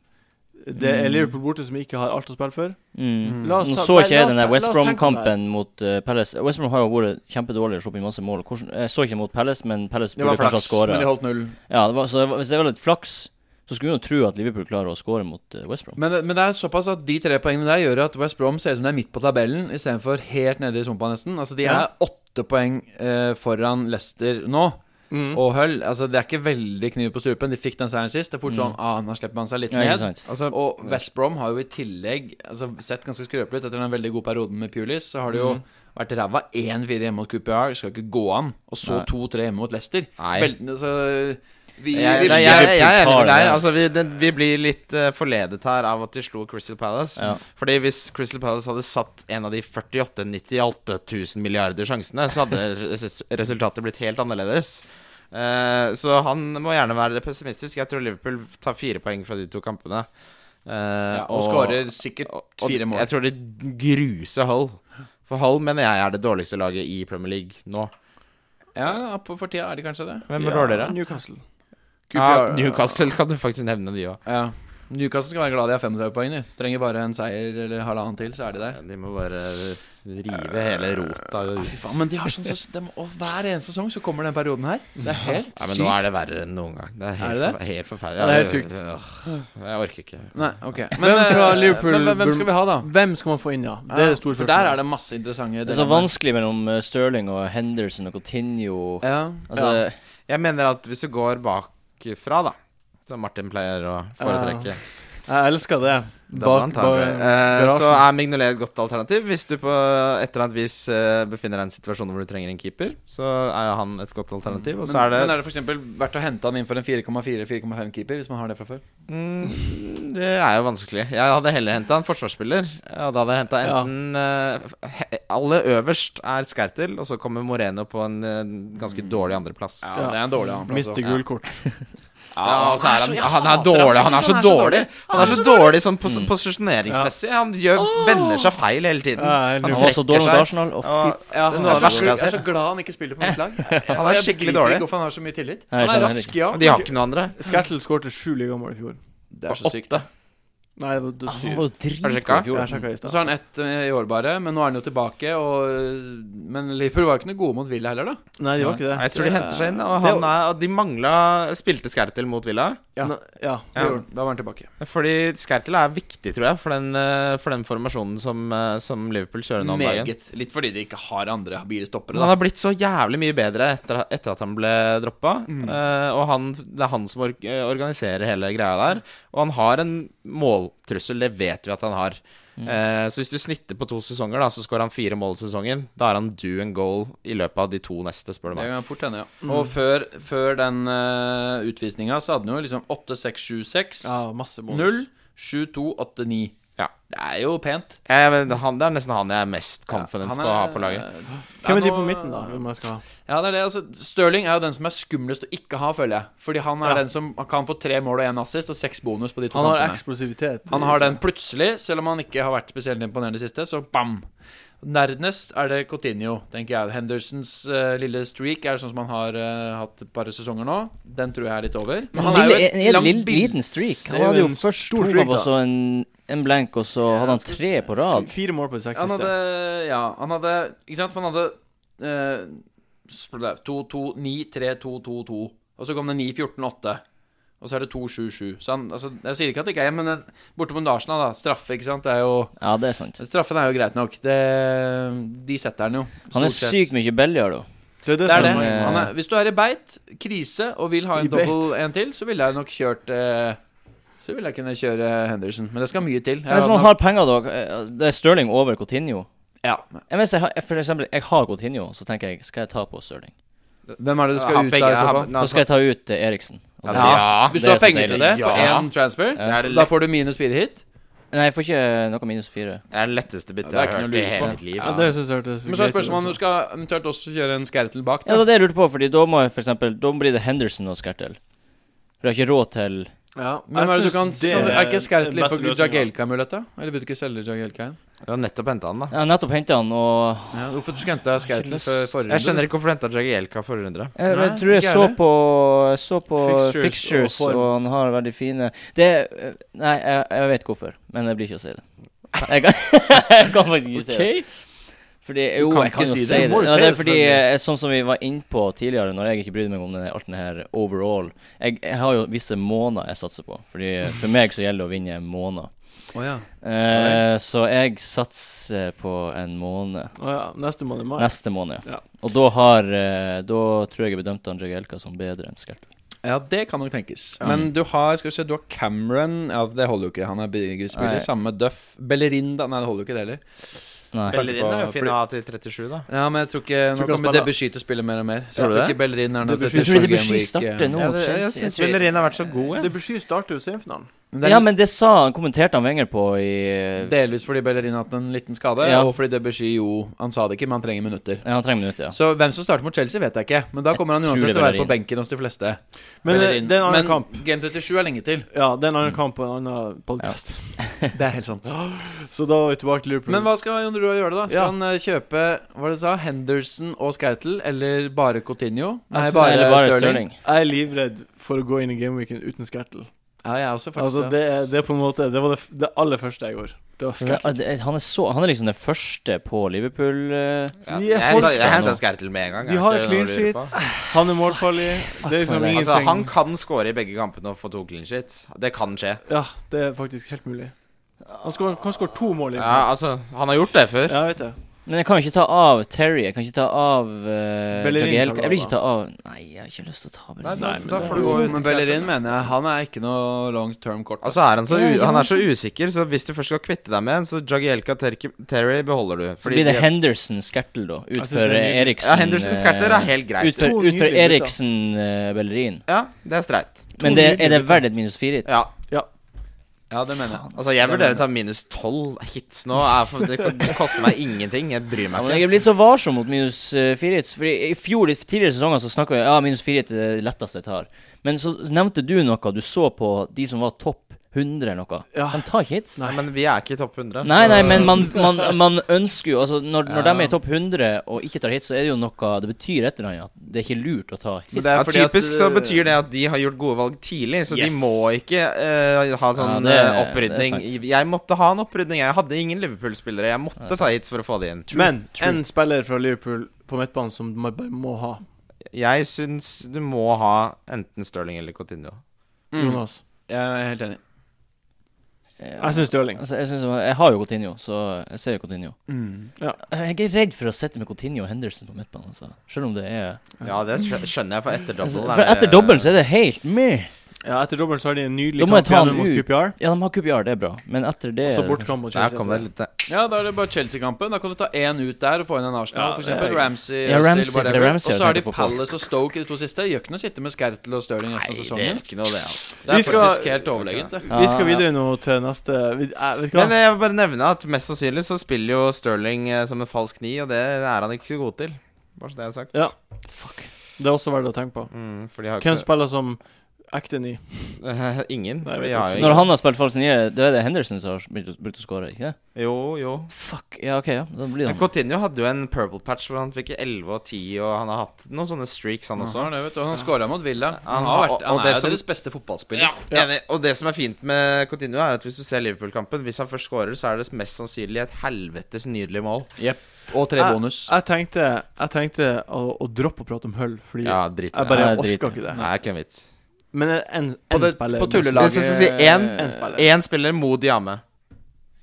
det er
Mm.
Liverpool borte som ikke har alt å spille for.
Mm.
La oss
Nå
ta-
så
nei, la
ikke jeg
oss
den
ta-
der West
la oss tenke på det.
Brom-kampen mot eh, Palace. West Brom har jo vært kjempedårlig og sluppet inn masse mål. Hvordan, jeg så ikke mot Palace, men Palace
Det var
burde kanskje ha
flaks, men de
skåra.
holdt null.
Ja, det var, så det var, hvis det var litt flaks, så skulle man jo tro at Liverpool klarer å skåre mot eh, West Brom.
Men, men det er såpass at de tre poengene der gjør at West Brom ser ut som det er midt på tabellen, istedenfor helt nede i sumpa, nesten. Altså, de
Ja.
er åtte poeng eh, foran Leicester nå.
Og,
Og Hull, altså det er ikke veldig kniv på strupen. De fikk den seieren sist. Det er fort sånn
Mm.
ah, nå slipper man seg litt
Ja, ikke
ned.
sant?
Altså,
Og West Brom har jo i tillegg altså, sett ganske skrøpelig ut etter den veldig gode perioden med Pulis. Så har det
Mm.
jo vært ræva 1-4 hjemme mot QPR, skal ikke gå an. Og så
Nei.
2-3 hjemme mot Leicester.
Nei.
Vel, altså, vi,
Jeg,
vi,
nei, jeg, jeg, er enig med
Liverpool tar
deg.
det.
Altså, vi, den, vi blir litt eh, forledet her av at de slo Crystal Palace.
Ja.
Fordi hvis Crystal Palace hadde satt en av de 48 98 000 milliarder sjansene, så hadde res- resultatet blitt helt annerledes. Eh, så han må gjerne være pessimistisk. Jeg tror Liverpool tar fire poeng fra de to kampene. Eh,
ja, og skårer sikkert
og- og
fire mål.
Jeg tror de gruser Hull. For Hull mener jeg er det dårligste laget i Premier League nå.
Ja, på- for tida er de kanskje det.
Hvem er dårligere?
Newcastle.
Ja,
QPR
Newcastle kan du faktisk nevne, de òg.
Ja. Newcastle skal være glad de har 35 poeng. De. Trenger bare en seier eller halvannen til, så er de der.
Ja, De må bare rive hele rota ut.
Fy faen, men de har sånn så, de, og Hver eneste sesong så kommer den perioden her. Det er helt
Ja, men nå
sykt.
er det verre enn noen gang. Det er helt,
Er det det?
forfe- helt forferdelig.
Ja, det er helt sykt.
sykt. Jeg orker ikke.
Nei, ok
Hvem fra
eh,
Liverpool
men, men, Hvem
burde-
skal vi ha, da?
Hvem skal man få inn, ja? Det er det store
For der er det masse interessante
Det er så vanskelig mellom eh, Sterling og Henderson og Coutinho
Ja.
Altså,
Jeg mener at hvis du går bak bakfra, da. Som Martin pleier å foretrekke.
Jeg elsker det.
Da blant annet. Eh,
garasjen.
så er Mignolet et godt alternativ. Hvis du på et eller annet vis eh, befinner deg i en situasjon hvor du trenger en keeper, så er han et godt alternativ. Og så er det
Men er det for eksempel verdt å hente han inn for en 4,4-4,5-keeper, hvis man har det fra før?
Mm, det er jo vanskelig. Jeg hadde heller henta en forsvarsspiller. Og da hadde jeg henta
Ja.
enten eh, he- Alle øverst er Skertil, og så kommer Moreno på en eh, ganske dårlig andreplass. Ja.
Ja, det er en dårlig
eh,
annenplass.
Mister gult kort.
og så er han, han er dårlig. Han er så dårlig Han er så dårlig sånn pos posisjoneringsmessig. Han gjør, vender seg feil hele tiden.
Ja, jeg er
Han
Han var så dårlig mot
trekker seg.
Arsenal. Og
Og
fy
Ja,
Det er
han
noe av
er
det
så,
verste jeg
sjuk-
har
jeg er så
sett.
glad han ikke spiller på mitt lag. Jeg-
Han er
jeg
skikkelig
begriper
dårlig.
ikke Hvorfor han har så mye tillit.
Nei, jeg
Han er
skjønner heller
rask, ja.
Og de har ikke noen andre.
Skertel skårte sju ligamål i fjor.
Det er så sykt.
Åtte.
Nei, det var det var
Ah, Han
syv.
var jo dritgod
sjekka?
i fjor.
Jeg sjekket i
Og
stad.
så har han ett eh, i år bare, men nå er han jo tilbake. Og, men Liverpool var jo ikke noe gode mot Villa heller, da.
Nei, de var ikke
Nei,
det.
Jeg tror de henter seg inn.
Det
Og,
er
han er, og de mangla Spilte Skertil mot Villa.
Ja.
Nei, ja.
Det gjorde han. Da var han tilbake.
Fordi Skertil er viktig, tror jeg, for den, eh, for den formasjonen som, eh, som Liverpool kjører nå om dagen.
Meget. Litt fordi de ikke har andre habile stoppere.
Men han har
Da.
blitt så jævlig mye bedre etter, etter at han ble droppa.
Mm.
Eh, og han, det er han som org eh, organiserer hele greia der. Og han har en måltrussel, det vet vi at han har.
Mm.
Eh, så hvis du snitter på to sesonger, da, så skårer han fire mål i sesongen. Da er han do and goal i løpet av de to neste, spør du meg.
Det kan fort hende, ja. Og før, før den uh, utvisninga så hadde han jo liksom 8-6-7-6,
ja masse bonus.
0, 7-2-8-9.
Ja.
Det er jo pent.
Eh, men han, det er nesten han jeg er mest confident
Han er-
på å ha på laget.
Hvem er
Ja,
de
nå-
på midten, da? Hvem jeg skal ha?
Ja, det er det. Altså, Stirling er jo den som er skumlest å ikke ha, føler jeg. Fordi han er
Ja.
den som kan få tre mål og én assist og seks bonus på de to
Han har
kantene.
eksplosivitet.
Han har den plutselig, selv om han ikke har vært spesielt imponerende i det siste, så bam! Nærmest er det Coutinho, tenker jeg. Hendersons eh, lille streak er sånn som han har eh, hatt et par sesonger nå. Den tror jeg er litt over.
Men lille,
jo et
en en
langt
lille,
bild-
liten streak.
Det
Han
er jo
hadde jo
en
først
stor
to
streak,
kamp, og
da.
så en, en blank, og så
Ja,
hadde han
skal
tre
se-
på rad.
F- Fire mål på de seks
Han hadde
siste.
Ja, han hadde eh, Ikke sant, for han hadde 2-2-9-3-2-2-2. Og så kom det 9-14-8. Og så er det 2-7-7. Så han altså, Jeg sier ikke at det ikke er men den- borte mot Arsenal, da. Straffe, ikke sant. Det er jo
Ja, det er sant.
Straffen er jo greit nok. Det, de setter han jo.
Han er
stort sett.
sykt mye billigere, da.
Det er det,
Det er det.
som
eh,
Han er, hvis du er i beit, krise, og vil ha en
I beit.
dobbel en til, så ville jeg nok kjørt eh, Så ville jeg kunne kjøre Henderson. Men det skal mye til. Jeg
Men hvis
hadde
man
nok-
har penger, da eh, Det er Stirling over Coutinho.
ja.
Jeg, hvis jeg, har, for eksempel, jeg har Coutinho, så tenker jeg skal jeg ta på Stirling?
Hvem er det du skal
Ha
ut av?
begge-
i så
ha-
fall?
Nei,
Så skal jeg ta ut eh, Eriksen. Og
Ja,
det-
Ja, Hvis du
det
har
er så
penger til det
deilig.
på
Ja.
én transfer,
Det er det
da
lett-
får du minus fire hit.
Nei, jeg får ikke eh, noe minus fire.
det er det letteste byttet
Ja, det
jeg
er ikke
har
noe å
hørt i
lure
hele
på.
mitt liv.
Ja, det synes jeg hørtes
Men så
greit
er
ut altså.
spørsmålet om
også.
du skal eventuelt også kjøre en skertel bak.
Ja, det
Da.
var det jeg lurte på, Fordi da må jeg for eksempel Da blir det Henderson og Skertel. For jeg har ikke råd til
Ja,
Men hva er, det du kan, er, ikke Skertel
den
litt
beste
for
løsningen.
Jagelka-mulighet, da? Eller vil du ikke selge Jagelka igjen?
Du har nettopp henta han, da.
Jeg har nettopp henta han, og
Ja, hvorfor du skulle hente Skertel før forrige
Jeg skjønner ikke hvorfor du henta Jagielka forrige runde.
jeg,
Nei,
Eh, jeg tror jeg
ikke
så
heller.
på, jeg så på
Fixtures
fixtures,
og
og,
form.
han har veldig fine Det eh, Nei, jeg, jeg vet hvorfor, men jeg blir ikke å si det. Jeg kan, jeg kan faktisk ikke si det. Fordi, jo,
kan
jeg kan
ikke
jo
si
si
det.
det.
Du må jo si
Ja, det er
det,
fordi,
selvfølgelig.
eh, sånn som vi var innpå tidligere, når jeg ikke brydde meg om den, alt det her overall jeg, jeg har jo visse måneder jeg satser på. Fordi eh, For meg så gjelder det å vinne en måned.
Å ja.
Eh, så jeg satser på en måned.
Å ja. Neste måned i mai.
Neste måned,
Ja.
ja. Og da har eh, Da tror jeg jeg bedømte han Jagielka som bedre enn Skertel.
Ja, det kan nok tenkes. Men du har skal vi se, du har Cameron Ja, det holder jo ikke. Han er
Nei.
bigrespiller. Samme med Duff. Bellerinda Nei, det holder jo ikke, det heller.
Nei.
Bellerin er jo fin
Fordi-
å ha til 37, da.
Ja, men jeg tror
Tror
ikke Nå
ikke han
kommer
spiller.
Debussy til å spille mer og mer. Så
Tror du
jeg tror
det?
ikke Bellerin er noe
Debussy- Tror
Jeg tror
Game
det blir
Week, eh.
starter nå
Ja,
mot
det, jeg
Chelsea.
syns
Jeg tror-
Bellerin har vært så god, jeg.
Det Debussy starter jo semifinalen.
Det er
Ja, men det sa han kommenterte han Wenger på i
Delvis fordi Bellerin har hatt en liten skade,
Ja.
og fordi Debussy jo Han sa det ikke, men han trenger minutter.
Ja, han trenger minutter, ja.
Så hvem som starter mot Chelsea, vet jeg ikke. Men da kommer han
Jeg tror
uansett
det er
til å være på
Bellerin.
benken hos de fleste.
Men eh,
Bellerin.
det er en annen
Men
kamp.
Game 37 er lenge til.
Ja, det er en annen kamp og en annen podcast.
Det er helt sant.
Så da var vi tilbake til Liverpool.
Men hva skal Jon Roar gjøre, da? Skal
Ja.
han eh, kjøpe hva var det du sa, Henderson og Skertel, eller bare Coutinho? Nei,
synes
bare,
Eller bare
Stirling.
Stirling.
Jeg er livredd for å gå inn i gameweeken uten skertel.
Ja, jeg er også, faktisk.
Altså,
ass.
det, er- det er på en måte Det var det, f- det aller første jeg gjorde. Det var
Ja,
skertel.
det- Han er, så, han er liksom den første på Liverpool eh,
Så de
Jeg
er folk-
jeg henta
nå.
Skertel med en gang.
De
jeg,
har
ikke
clean
noe å lure på.
sheets. Han er målfarlig. Det er liksom
meg.
ingenting
Altså, han kan score i begge kampene og få to clean sheets. Det kan skje.
Ja, det er faktisk helt mulig. Han skår, kan skåre to mål. i
Ja, altså, han har gjort det før.
Ja, jeg vet det.
Men jeg kan jo ikke ta av Terry. Jeg kan ikke ta av uh,
Bellerin tar
Jagielka.
du
Jeg vil
av,
ikke ta av Nei, jeg har ikke lyst til å ta
Nei,
Bellerin.
da,
men
da
det-
får du gå
Jo,
uten
men Bellerin
Zlatan.
mener jeg Han er ikke noe long term kort.
Altså er han, så
Ja,
u
ikke
han er så
sant?
usikker, så hvis du først skal kvitte deg med en, så Jagielka Terki- Terry beholder du.
Så blir det
de-
Henderson Skertel, da.
Jeg synes
Utfor
det er nydelig.
Eriksen
ja, Henderson Skertler er
eh,
helt greit.
Utfor,
To
utfor
nydelige gutter.
Eriksen eh, Bellerin.
Ja, det er streit.
Men det,
nydelige
er det
gutter.
verdt et minus fire hit?
Ja,
Ja, det mener jeg.
altså jeg vurderer å ta minus tolv hits nå. Er for, det, det koster meg ingenting. Jeg bryr
Ja,
meg
men
ikke.
jeg er blitt så varsom mot minus eh, fire hits. Fordi I fjor, litt tidligere sesonger så snakka vi ja, minus fire hits er det letteste jeg tar. Men så nevnte du noe. Du så på de som var topp 100 eller noe.
Ja.
De tar ikke hits.
Nei, men vi er ikke i topp 100.
Nei,
så-
nei, men man, man, man ønsker jo altså Når, når
Ja.
de er i topp 100 og ikke tar hit, så er det jo noe Det betyr et eller annet at det er ikke lurt å ta hit.
Men det er
ja,
fordi at,
typisk så
eh,
betyr det at de har gjort gode valg tidlig, så
Yes.
de må ikke eh, ha
Ja,
sånn
det-
eh,
det er
opprydning.
sant.
Jeg måtte ha en opprydning. Jeg hadde ingen Liverpool-spillere. Jeg måtte ta hits for å få det inn.
Men en spiller fra Liverpool på midtbanen som man bare må ha.
Jeg syns du må ha enten Sterling eller Coutinho.
Mm.
Jonas.
Jeg er helt enig.
Jeg syns Stirling.
altså, jeg, synes, jeg har jo Coutinho, så jeg ser jo Coutinho. Jeg er redd for å sette med Coutinho og Henderson på midtbanen, altså. Selv om det er
Ja, det skjø- skjønner jeg, for etter dobbelen
Altså, For etter dobbelen så er det helt med.
Ja, etter dobbelen så har de en nydelig
Da må jeg
kamp
ta han
hjemme mot
ut.
QPR.
Ja, de har QPR, det er bra, men etter det
Og så bortkamp mot
Der
Chelsea.
kom det
etter det.
litt eh,
Ja, da er det bare Chelsea-kampen. Da kan du ta én ut der og få inn en Arsenal,
Ja,
for
det er
eksempel
greit.
Ramsey.
Ja,
Özil,
Ramsey, for det er
whatever.
Ramsey jeg
Og så har de
tenkte på.
Palace og Stoke i de to siste. Gjør ikke noe å sitte med Skertel og Stirling resten av
Nei, det er
sesongen.
ikke noe, det, altså.
Det
Vi
er
skal-
faktisk helt overlegent, det.
Vi skal videre nå til neste vi, eh, Vet du hva?
Men eh, jeg vil bare nevne at mest sannsynlig så spiller jo Sterling eh, som en falsk ni, og det er han ikke så god til. Bare så det er sagt.
Ja.
Fuck.
Det er også verdt å tenke på.
Mm, for de har
Hvem
jo
spiller som ekte ni?
ikke Ingen.
Nei, jeg
for
vet
de har
ikke.
jo
Når
ingen.
han har spilt falsk nier, da er det Henderson som har begynt å- begynt å skåre, ikke det?
Jo, jo.
Fuck. Ja, OK, ja. Da blir det
Men
han.
Coutinho hadde jo en purple patch hvor han fikk 11 og 10, og han har hatt noen sånne streaks, han
Han,
også.
har det, vet du. og han scora mot Villa. Han,
Han
har
har-
vært,
og-
han
og
er
det
jo
som-
deres beste fotballspiller.
Enig. Og det som er fint med Coutinho, er at hvis du ser Liverpool-kampen Hvis han først skårer, så er det mest sannsynlig et helvetes nydelig mål.
Og tre bonus.
Jeg tenkte, jeg tenkte å, å droppe å prate om Hull, fordi
Ja, drit i
jeg
det.
bare
Ja,
orker
drit i det.
ikke det.
Nei, ikke en vits.
Men en,
På,
en
det,
spiller
på
Det skal jeg si,
tullelaget
en-
en spiller.
Én spiller, Mo Diame.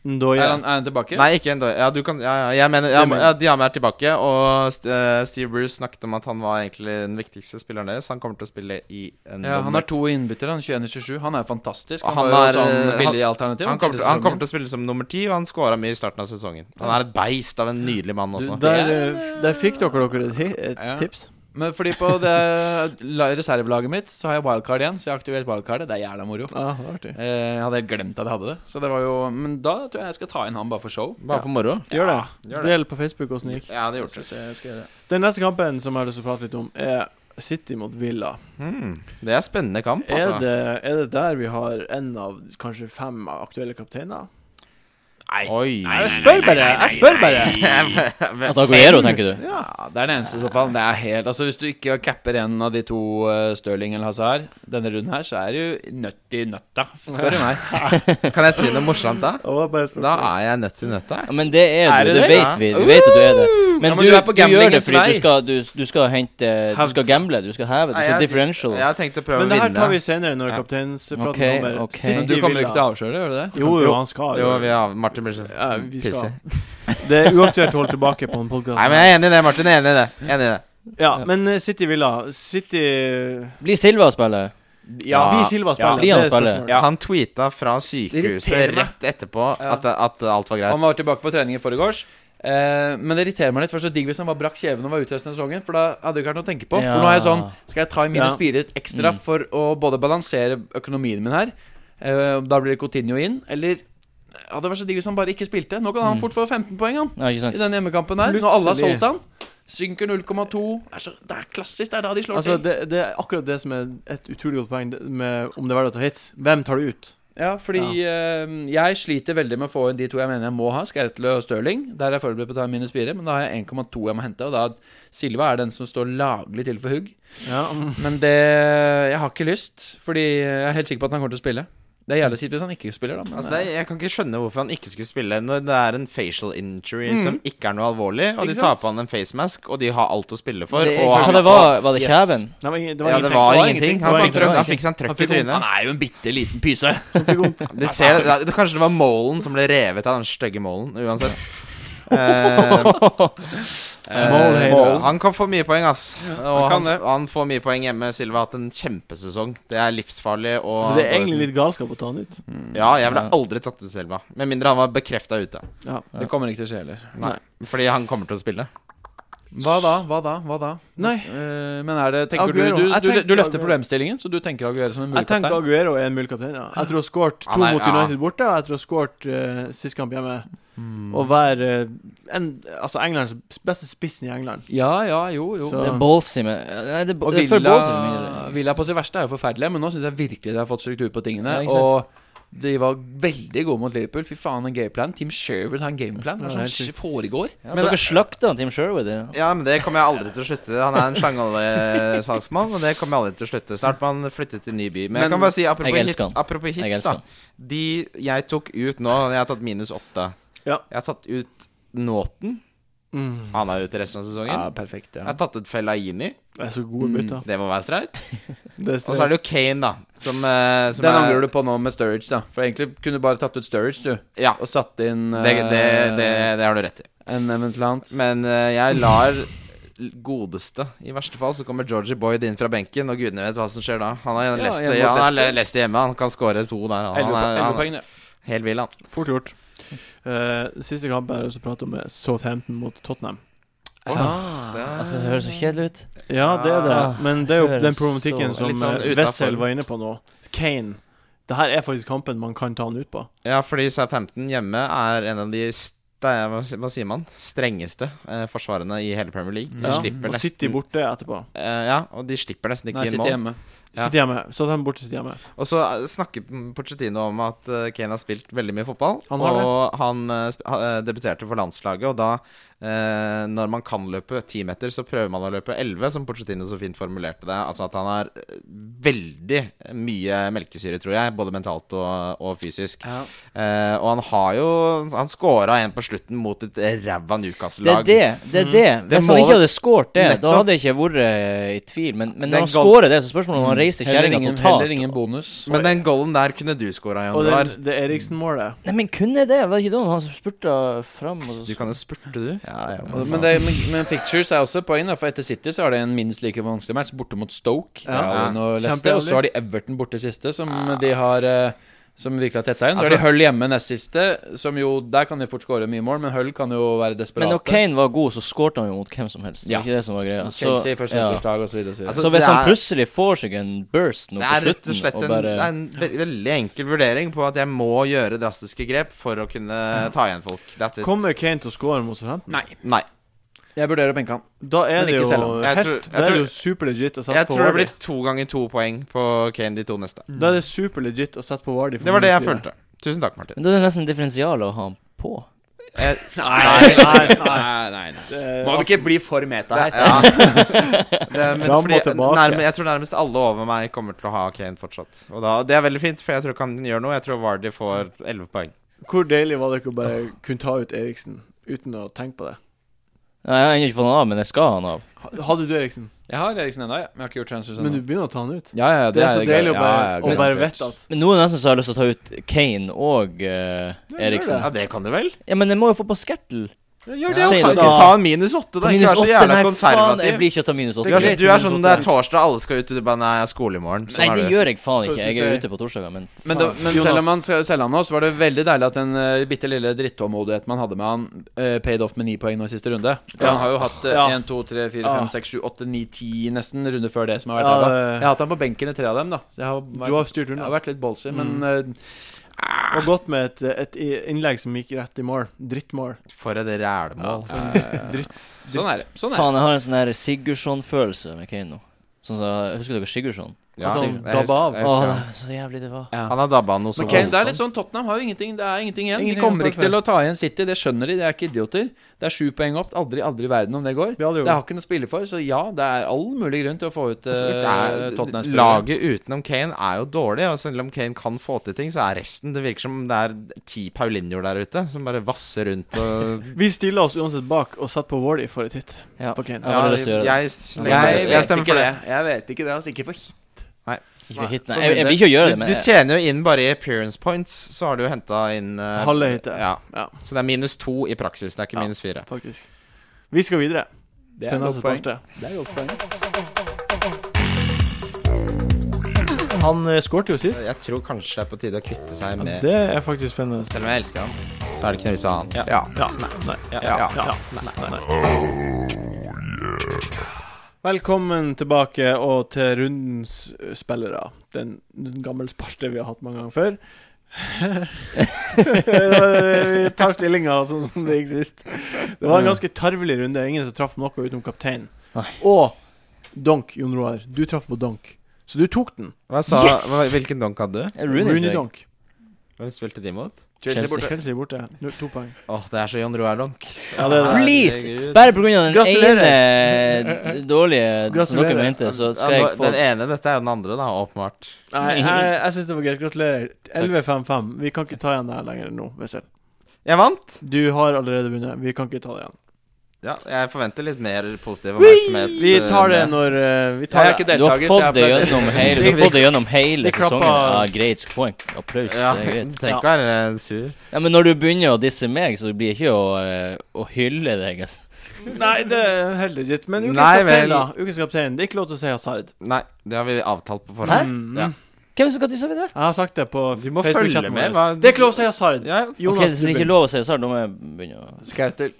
Da
Er
gjør
han, er han tilbake?
Nei, ikke en dårlig Ja, du kan Ja, ja, jeg mener ja,
Det mener jeg.
ja, Diame er tilbake, og St- eh, Steve Bruce snakket om at han var egentlig den viktigste spilleren deres. Han kommer til å spille i en
Ja, han
nummer-
har to innbyttere, han 21-27. Han er fantastisk. Han,
Han
var jo
er,
sånn
eh,
billig alternativ.
han kommer, til, han
sesongen.
kommer til å spille som nummer ti, og han scora mye i starten av sesongen. Han er et beist av en nydelig mann
Du,
også.
der, eh, der fikk dere dere et, hi- et
Ja.
tips.
Men fordi på det la- reservelaget mitt så har jeg wildcard igjen, så jeg har aktivert wildcardet. Det er jævla moro.
Ja, det var artig.
Eh, Jeg hadde helt glemt at jeg hadde det. Så det var jo Men da tror jeg jeg skal ta inn han bare for show.
Bare for moro.
Gjør det.
gjør det.
Del på Facebook åssen det gikk.
Ja, det
Så
gjorde det.
jeg skal gjøre det.
Den neste kampen som jeg har lyst til å prate litt om, er City mot Villa.
Hmm. Det er spennende kamp,
Er
altså.
det, er det der vi har en av kanskje fem aktuelle kapteiner?
Oi.
Nei, jeg spør bare! Jeg spør bare!
At Aguero, tenker du?
Ja, det er det eneste i så fall. Det er helt Altså Hvis du ikke capper en av de to eh, Stirling eller Hazard denne runden her, så er du nødt i nøtta, spør du meg.
Kan jeg si noe morsomt, da?
Det var bare et spørsmål.
Da er jeg nødt til nøtta.
Ja, men det er
Er
du.
det det? Uh!
Det vet
Ja.
vi. Du vet at du er det. Men,
Ja,
du,
men du er på
du gjør det
gamblingens
fordi
vei.
du skal, du, du skal hente Du skal
Hevd.
gamble, du skal heve, du
Nei,
skal
jeg-
differential.
Jeg har tenkt å prøve å
Men det her tar vi
vinne.
senere, når
Ja.
kapteinspraten
Ok,
kommer.
ok.
City
Men du kommer jo ikke til
Villa.
å avsløre det, gjør du det?
Jo, jo,
Jo.
han skal
Jo, vi har Martin blir så
Ja, vi skal.
pissig.
Det er uaktuelt å holde tilbake på en
Nei,
podkast.
men jeg er enig i det, Martin. Jeg er enig i det. Jeg er Enig i det.
Ja, men eh, City Villa City
Blir Silva å spille?
Ja, vi Silva
Ja,
spiller.
blir han
det er
spiller?
spørsmålet.
Han tweeta fra sykehuset
irriterer meg.
rett etterpå
Ja.
at, at alt var
Han
greit.
var tilbake på trening i forgårs. Eh, men det irriterer meg litt. Først så digg hvis han bare brakk kjeven og var ute resten av sesongen. For da hadde det ikke vært noe å tenke på.
Ja.
For nå er jeg sånn Skal jeg ta i minus
Ja.
fire ekstra
Mm.
for å både balansere økonomien min her? eh, da blir det Coutinho inn. Eller ja, det var så digg hvis han bare ikke spilte. Nå kan han
Mm.
fort få 15 poeng, han.
Ja, ikke
I
sant?
denne hjemmekampen her. Når alle har
Plutselig.
solgt han. Synker 0,2. Det er så- Det er klassisk. Det er da de slår
Altså,
til.
det, det er akkurat det som er et utrolig godt poeng det- med om det er verdt å ta hits. Hvem tar du ut?
Ja, fordi eh, jeg sliter veldig med å få inn de to jeg mener jeg må ha, Skertle og Stirling. Der er jeg forberedt på å ta minus fire, men da har jeg 1,2 jeg må hente. Og da Silva er den som står laglig til for hugg.
Ja, mm.
Men det Jeg har ikke lyst, fordi jeg er helt sikker på at han kommer til å spille. Det er jævlig kjipt hvis han ikke spiller, da. Men,
Altså, det, er- jeg kan ikke skjønne hvorfor han ikke skulle spille når det er en facial injury
Mm.
som ikke er noe alvorlig, og
Ikke
de tar
sant?
på han en facemask, og de har alt å spille for.
Det,
og
hva
han,
det var, var det
Yes.
kjeven?
Nei, men, det var
ja, det
ingenting.
var
Det var
ingenting. Han
ingenting.
Det var
fikk, trøkk,
ingenting.
han fikk seg
Han
en trøkk i
fikk vondt.
trynet.
eh, han er jo en bitte liten pyse.
Du ser, det, det- kanskje det var målen som ble revet av den stygge målen, uansett. Eh, eh,
Målheim.
Mål. han kan få mye poeng, ass. Og
han kan
han,
det.
han får mye poeng hjemme. Silva har hatt en kjempesesong. Det er livsfarlig. Og
Så det er egentlig litt galskap å ta han ut.
Ja, jeg ville
Ja.
aldri tatt ut Silva. Med mindre han var bekrefta ute.
Ja.
Det kommer ikke til å skje heller.
Nei. Fordi han kommer til å spille.
Hva da? Hva da? Hva da?
Nei.
Eh, men er det tenker du,
Aguero.
du,
Jeg
du,
tenker
du løfter
Aguero.
problemstillingen, så du tenker Aguero som en
Jeg tenker
mulighetskaptein?
Aguero er en mulig kaptein. Ja. Jeg tror hun skåret to
Han er-
mot
ja.
United borte, og jeg tror hun skåret uh, sist kamp hjemme.
Mm.
Mm.
Og hver eh, en, Altså Englands beste spissen i England.
Ja, ja, jo, jo.
Så-
Det er ballsy med Nei, det,
Og
det er for
Villa,
ballsy for min del.
Villa på sitt verste er jo forferdelige, men nå syns jeg virkelig de har fått struktur på tingene.
Ja, ikke
og de var veldig gode mot Liverpool. Fy faen, en gameplan. Team Sherwood har en gameplan. Hva
Ja,
er det
helt
som foregår?
Ja,
Men-
dere slakta Team Sherwood. Ja.
Ja, men det kommer jeg aldri til å slutte. Han er en sjangolesalgsmann, og det kommer jeg aldri til å slutte. Snart man flytter til ny by. Men,
Men
jeg kan bare si,
jeg
apropos, hit,
elsker han.
apropos
Jeg
hits, da.
elsker han.
De jeg tok ut nå, jeg har tatt minus åtte.
Ja.
Jeg har tatt ut Nåten.
Mm.
Han er ute resten av sesongen.
Ja, perfekt.
Jeg
Ja.
har tatt ut Fellaini.
Det er så gode bytter.
Det må være streit.
Det
Og så er det jo Kane, da. Som, eh, som
Den
er-
angrer du på nå med Sturridge, da. For egentlig kunne du bare tatt ut Sturridge, du.
Ja.
Og satt inn
Det,
eh,
det, det, det har du rett i.
en eventuelt
Men eh, jeg lar godeste I verste fall så kommer Georgie Boyd inn fra benken, og gudene vet hva som skjer da. Han har
Ja,
lest,
hjemme mot
ja, han har
Leicester.
le- lest det hjemme. Han kan score to der. Han, han, er,
Elleve
han er
poeng, det.
helt vill, han.
Fort gjort. Eh, siste kampen er det også prat om eh, Southampton mot Tottenham.
Altså, det høres så kjedelig ut.
Ja, det er det.
Ah,
Men det er jo
det er
den
så-
problematikken som
Litt sånn
eh,
utenfor.
Wessel var inne på nå. Kane. Det her er faktisk kampen man kan ta han ut på.
Ja, fordi Southampton hjemme er en av de ste- eh, hva si- hva sier man? strengeste eh, forsvarene i hele Premier League. De
Ja.
slipper
Og City
nesten
borte etterpå.
eh, Ja, og de slipper nesten ikke
Nei,
inn
sitte
mål.
hjemme.
Ja.
City hjemme. Southampton borte, City hjemme.
Og så eh, snakker Porcetino om at eh, Kane har spilt veldig mye fotball.
Han har det.
og han eh, sp- ha- eh, debuterte for landslaget, og da eh, Når man kan løpe ti meter, så prøver man å løpe elleve, som Porcetino så fint formulerte det. Altså at han har eh, veldig mye melkesyre, tror jeg, både mentalt og, og fysisk.
Ja.
Eh, og han har jo Han scora en på slutten mot et ræva
Det er
Newcastle-lag.
det. det, er det.
Det
Hvis han
målet-
ikke hadde skåret det, da
Nettopp.
hadde jeg ikke vært eh, i tvil. Men,
Den
men
Mm.
når han
gal-
skårer det, så er spørsmålet om han reiser
Mm. Heller,
kjerringa
ingen, heller
totalt.
ingen bonus.
Men den goalen der kunne du scora, Jan
Og
Ovar.
det, det Eriksen-målet
Nei, men kunne det? Var det ikke da han spurta fram? Og
Du
så...
kan jo spurte, du.
Og- Men, det, men, men Pictures er også et poeng, da, for etter City så har de en minst like vanskelig match borte mot Stoke.
Ja.
Ja,
Ja.
og Leicester,
Kjempealvorlig.
og så har de Everton borte siste, som de har eh, Som virkelig har tetta inn. Så
Altså-
har de Hull hjemme nest siste, som jo Der kan de fort skåre mye mål, men Hull kan jo være desperate.
Men når Kane var god, så skårte han jo mot hvem som helst. Det
Ja.
er ikke det som var greia. Så-
Chelsea første
ja.
nyttårsdag og så videre og så videre.
Altså,
Så
det
hvis han
er-
plutselig får seg en burst nå
Det
på
er rett og slett
slutten
en,
og bare
det er en ve veldig enkel vurdering på at jeg må gjøre drastiske grep for å kunne ta igjen folk. That's it.
Kommer Kane til å score mot Southampton?
Nei,
Nei.
jeg vurderer å benke han.
Da er
Men
det
ikke
jo
selv om.
Jeg
helt,
tror- jeg
Da er det
tror-
jo superlegit å sette
Jeg
på
tror det
Wardy.
blir to ganger to poeng på Kane de to neste.
Da er det superlegit å sette på Wardy. for
Det var det jeg
minus fire.
følte. Tusen takk, Martin.
Men da er det nesten differensial å ha han på.
Jeg,
Nei, nei, nei.
nei, nei.
Det,
Må
er-
vi ikke bli for meta her?
ja. det, men
Fram og
fordi,
tilbake.
nærme, jeg tror nærmest alle over meg kommer til å ha Kane fortsatt. Og da, Det er veldig fint, for jeg tror ikke han gjør noe. Jeg tror Vardy får 11 poeng.
hvor deilig var det ikke å bare kunne ta ut Eriksen uten å tenke på det?
Nei, jeg har ennå ikke fått han av, men jeg skal ha han av.
Ha- Hadde du Eriksen?
Jeg har Eriksen ennå, ja. men jeg har ikke gjort transfers
Men du
ennå.
begynner å ta han ut.
Ja, ja,
Det er så deilig å bare,
ja, ja,
å bare
garantert.
vite at
Men nå er det nesten så jeg har lyst til å ta ut Kane og eh,
gjør
Eriksen.
Ja, det kan du vel?
Ja, men jeg må jo få på Skertel.
Gjør
det,
Ta,
altså.
ta en minus åtte, da. Ikke vær så jævla
faen. Jeg
konservativ.
blir ikke å ta minus
Du er,
åtte.
så, du er sånn det er torsdag, alle skal ut, og du bare Nei, jeg har skole i morgen. Sånn
Nei,
er
det
du.
gjør jeg faen
Hva
ikke.
skal
Jeg er
jeg si?
ute på torsdager, men
Sånn
Men, det, men
Jonas.
selv om man skal selge han nå, så var det veldig deilig at den uh, bitte lille drittålmodigheten man hadde med han, eh, paid off med ni poeng nå i siste runde. For
Ja.
Han har jo hatt eh,
Ja.
1, 2, 3, 4, 5,
Ja.
6, 7, 8, 9, 10 nesten runde før det som har vært
Ja,
her. Da.
det-
Jeg har hatt han på benken i tre av dem, da. Så jeg har vært,
du har Mm. styrt
jeg
unna.
har vært litt ballsy, men eh,
Og gått med et, et innlegg som gikk rett i mål. Drittmål.
For et
Ja,
rælmål.
for en dritt.
sånn er det. Sånn er det.
faen, jeg har en sånn her Sigurdsson-følelse med Kane nå. Sånn som, Husker dere Sigurdsson?
Ja,
Sånn,
jeg
dabba
husker-
av.
jeg husker
Åh,
han.
så jævlig det var.
Ja.
Han har dabba av noe så
Men Kane, det er
voldsomt.
litt sånn Tottenham har jo ingenting. Det er ingenting igjen.
Ingenting
de kommer
igjen
ikke til å ta igjen City, det skjønner de. De er ikke idioter. Det er sju poeng opp. Aldri, aldri i verden om det går.
Vi hadde
Det
jo
har ikke noe å spille for, så ja, det er all mulig grunn til å få ut eh,
Altså, det er-
Tottenham-spillere.
Laget utenom Kane er jo dårlig, og selv om Kane kan få til ting, så er resten Det virker som det er ti Paulinhoer der ute som bare vasser rundt og
Vi stiller oss uansett bak og setter på Wardy for et hit.
Ja.
På Kane.
Jeg har lyst til å gjøre det.
jeg, jeg,
Jeg,
jeg stemmer
vet ikke
for
det.
det.
Jeg vet ikke det, altså. Ikke for hit.
Nei.
Ikke hit, nei. Jeg, jeg vil ikke gjøre det,
Du,
men
du tjener jo inn bare i appearance points, så har du henta inn eh,
Halve hytte.
Ja.
Ja.
Så det er minus to i praksis, det er ikke
Ja.
minus fire.
faktisk. Vi skal videre
Det
til
er
neste
godt poeng.
spalte.
Det er godt poeng.
Han eh, skårte jo sist.
Jeg tror kanskje det er på tide å kvitte seg
Ja,
med
det er faktisk spennende.
Selv om jeg elsker han, så er det ikke noe vits i å ha han.
Ja.
Ja, nei, nei, ja,
Ja.
ja, ja, nei, nei. Velkommen tilbake og til rundens eh, spillere. Den, den gamle spalte vi har hatt mange ganger før. eh, vi tar stillinga sånn som det gikk sist. Det var en ganske tarvelig runde. Ingen som traff noe utenom kapteinen. Og Donk, Jon Roar. Du traff på Donk. Så du tok den.
Hva sa,
Yes!
hva, hvilken donk hadde du?
Rooney, tror jeg.
Donk.
Hvem spilte de mot?
Chelsea
Chelsea.
borte.
Chelsea borte. Nå- To poeng.
Åh, det er så John Roar Donk.
Ja, det er det.
Please!
Herregud.
Bare pga. den
Gratulerer.
ene dårlige som dere
Gratulerer.
mente, så skal
Ja,
jeg
nå-
få
Den ene, dette er jo den andre, da, åpenbart.
Nei, jeg, jeg syns det var greit. Gratulerer. 11-5-5. Vi kan ikke ta igjen det her lenger nå, Wessel.
Jeg vant!
Du har allerede vunnet. Vi kan ikke ta det igjen.
Ja, jeg forventer litt mer positiv oppmerksomhet.
Vi
eh,
tar det
med-
når eh, Vi
Jeg
tar
er ikke
det.
Du har
deltaker, så
fått
jeg
det
pleier-
gjennom hele, du har
Vi-
fått det gjennom hele
vi klapper.
sesongen. Ja, greit poeng. Applaus.
Ja,
Det er greit.
du trenger ikke være eh, sur.
Ja, men når du begynner å disse meg, så blir det ikke å, eh, å hylle deg. Altså.
Nei, det er helt legit. Men ukens
Nei,
kaptein,
vel.
da. Ukens kaptein. Det er ikke lov til å si hasard.
Nei, det har vi avtalt på
Hæ?
forhånd.
Mm.
Ja.
Hvem som skal disse videre?
Jeg har sagt det på
Du må følge med. Hva?
Det er ikke lov til å si hasard.
Ja.
Ok,
Jonas,
så det
du
er ikke lov å si hasard. Da må jeg begynne å
Skertel.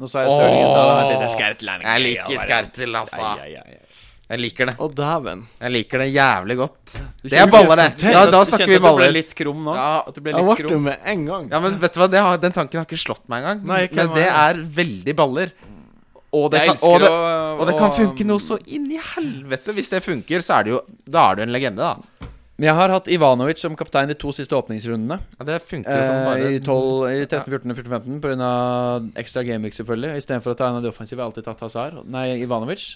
Nå sa jeg Stirling i stad. da mente jeg det er Skertel. er en
Jeg
greie,
liker
da, bare.
skertel, altså.
Ai, ai, ai, ai.
Jeg liker det.
Å, dæven.
Jeg liker det jævlig godt.
Du
Det er
kjenner-
baller, det.
du kjenner
Da,
at-
da
du
snakker
kjente
vi
at Du ble
baller.
litt krum nå.
Ja.
At du ble
Jeg
litt
ble
krum.
med en gang.
Ja, men vet du hva, det har, den tanken har ikke slått meg engang.
Nei, ikke
men
meg.
det er veldig baller. Og det,
Jeg
kan,
elsker
og, det,
å um,
og det kan
å-
funke noe så inn i helvete. Hvis det funker, så er det jo Da er du en legende, da.
Men jeg har hatt Ivanovic som kaptein de to siste åpningsrundene.
Ja, det funker jo som
Eh,
bare
I 12, i 13, 14 og 14, 15 pga. ekstra gameweek, selvfølgelig. Istedenfor å ta en av de offensive, har jeg alltid tatt Hazar. Nei, Ivanovic.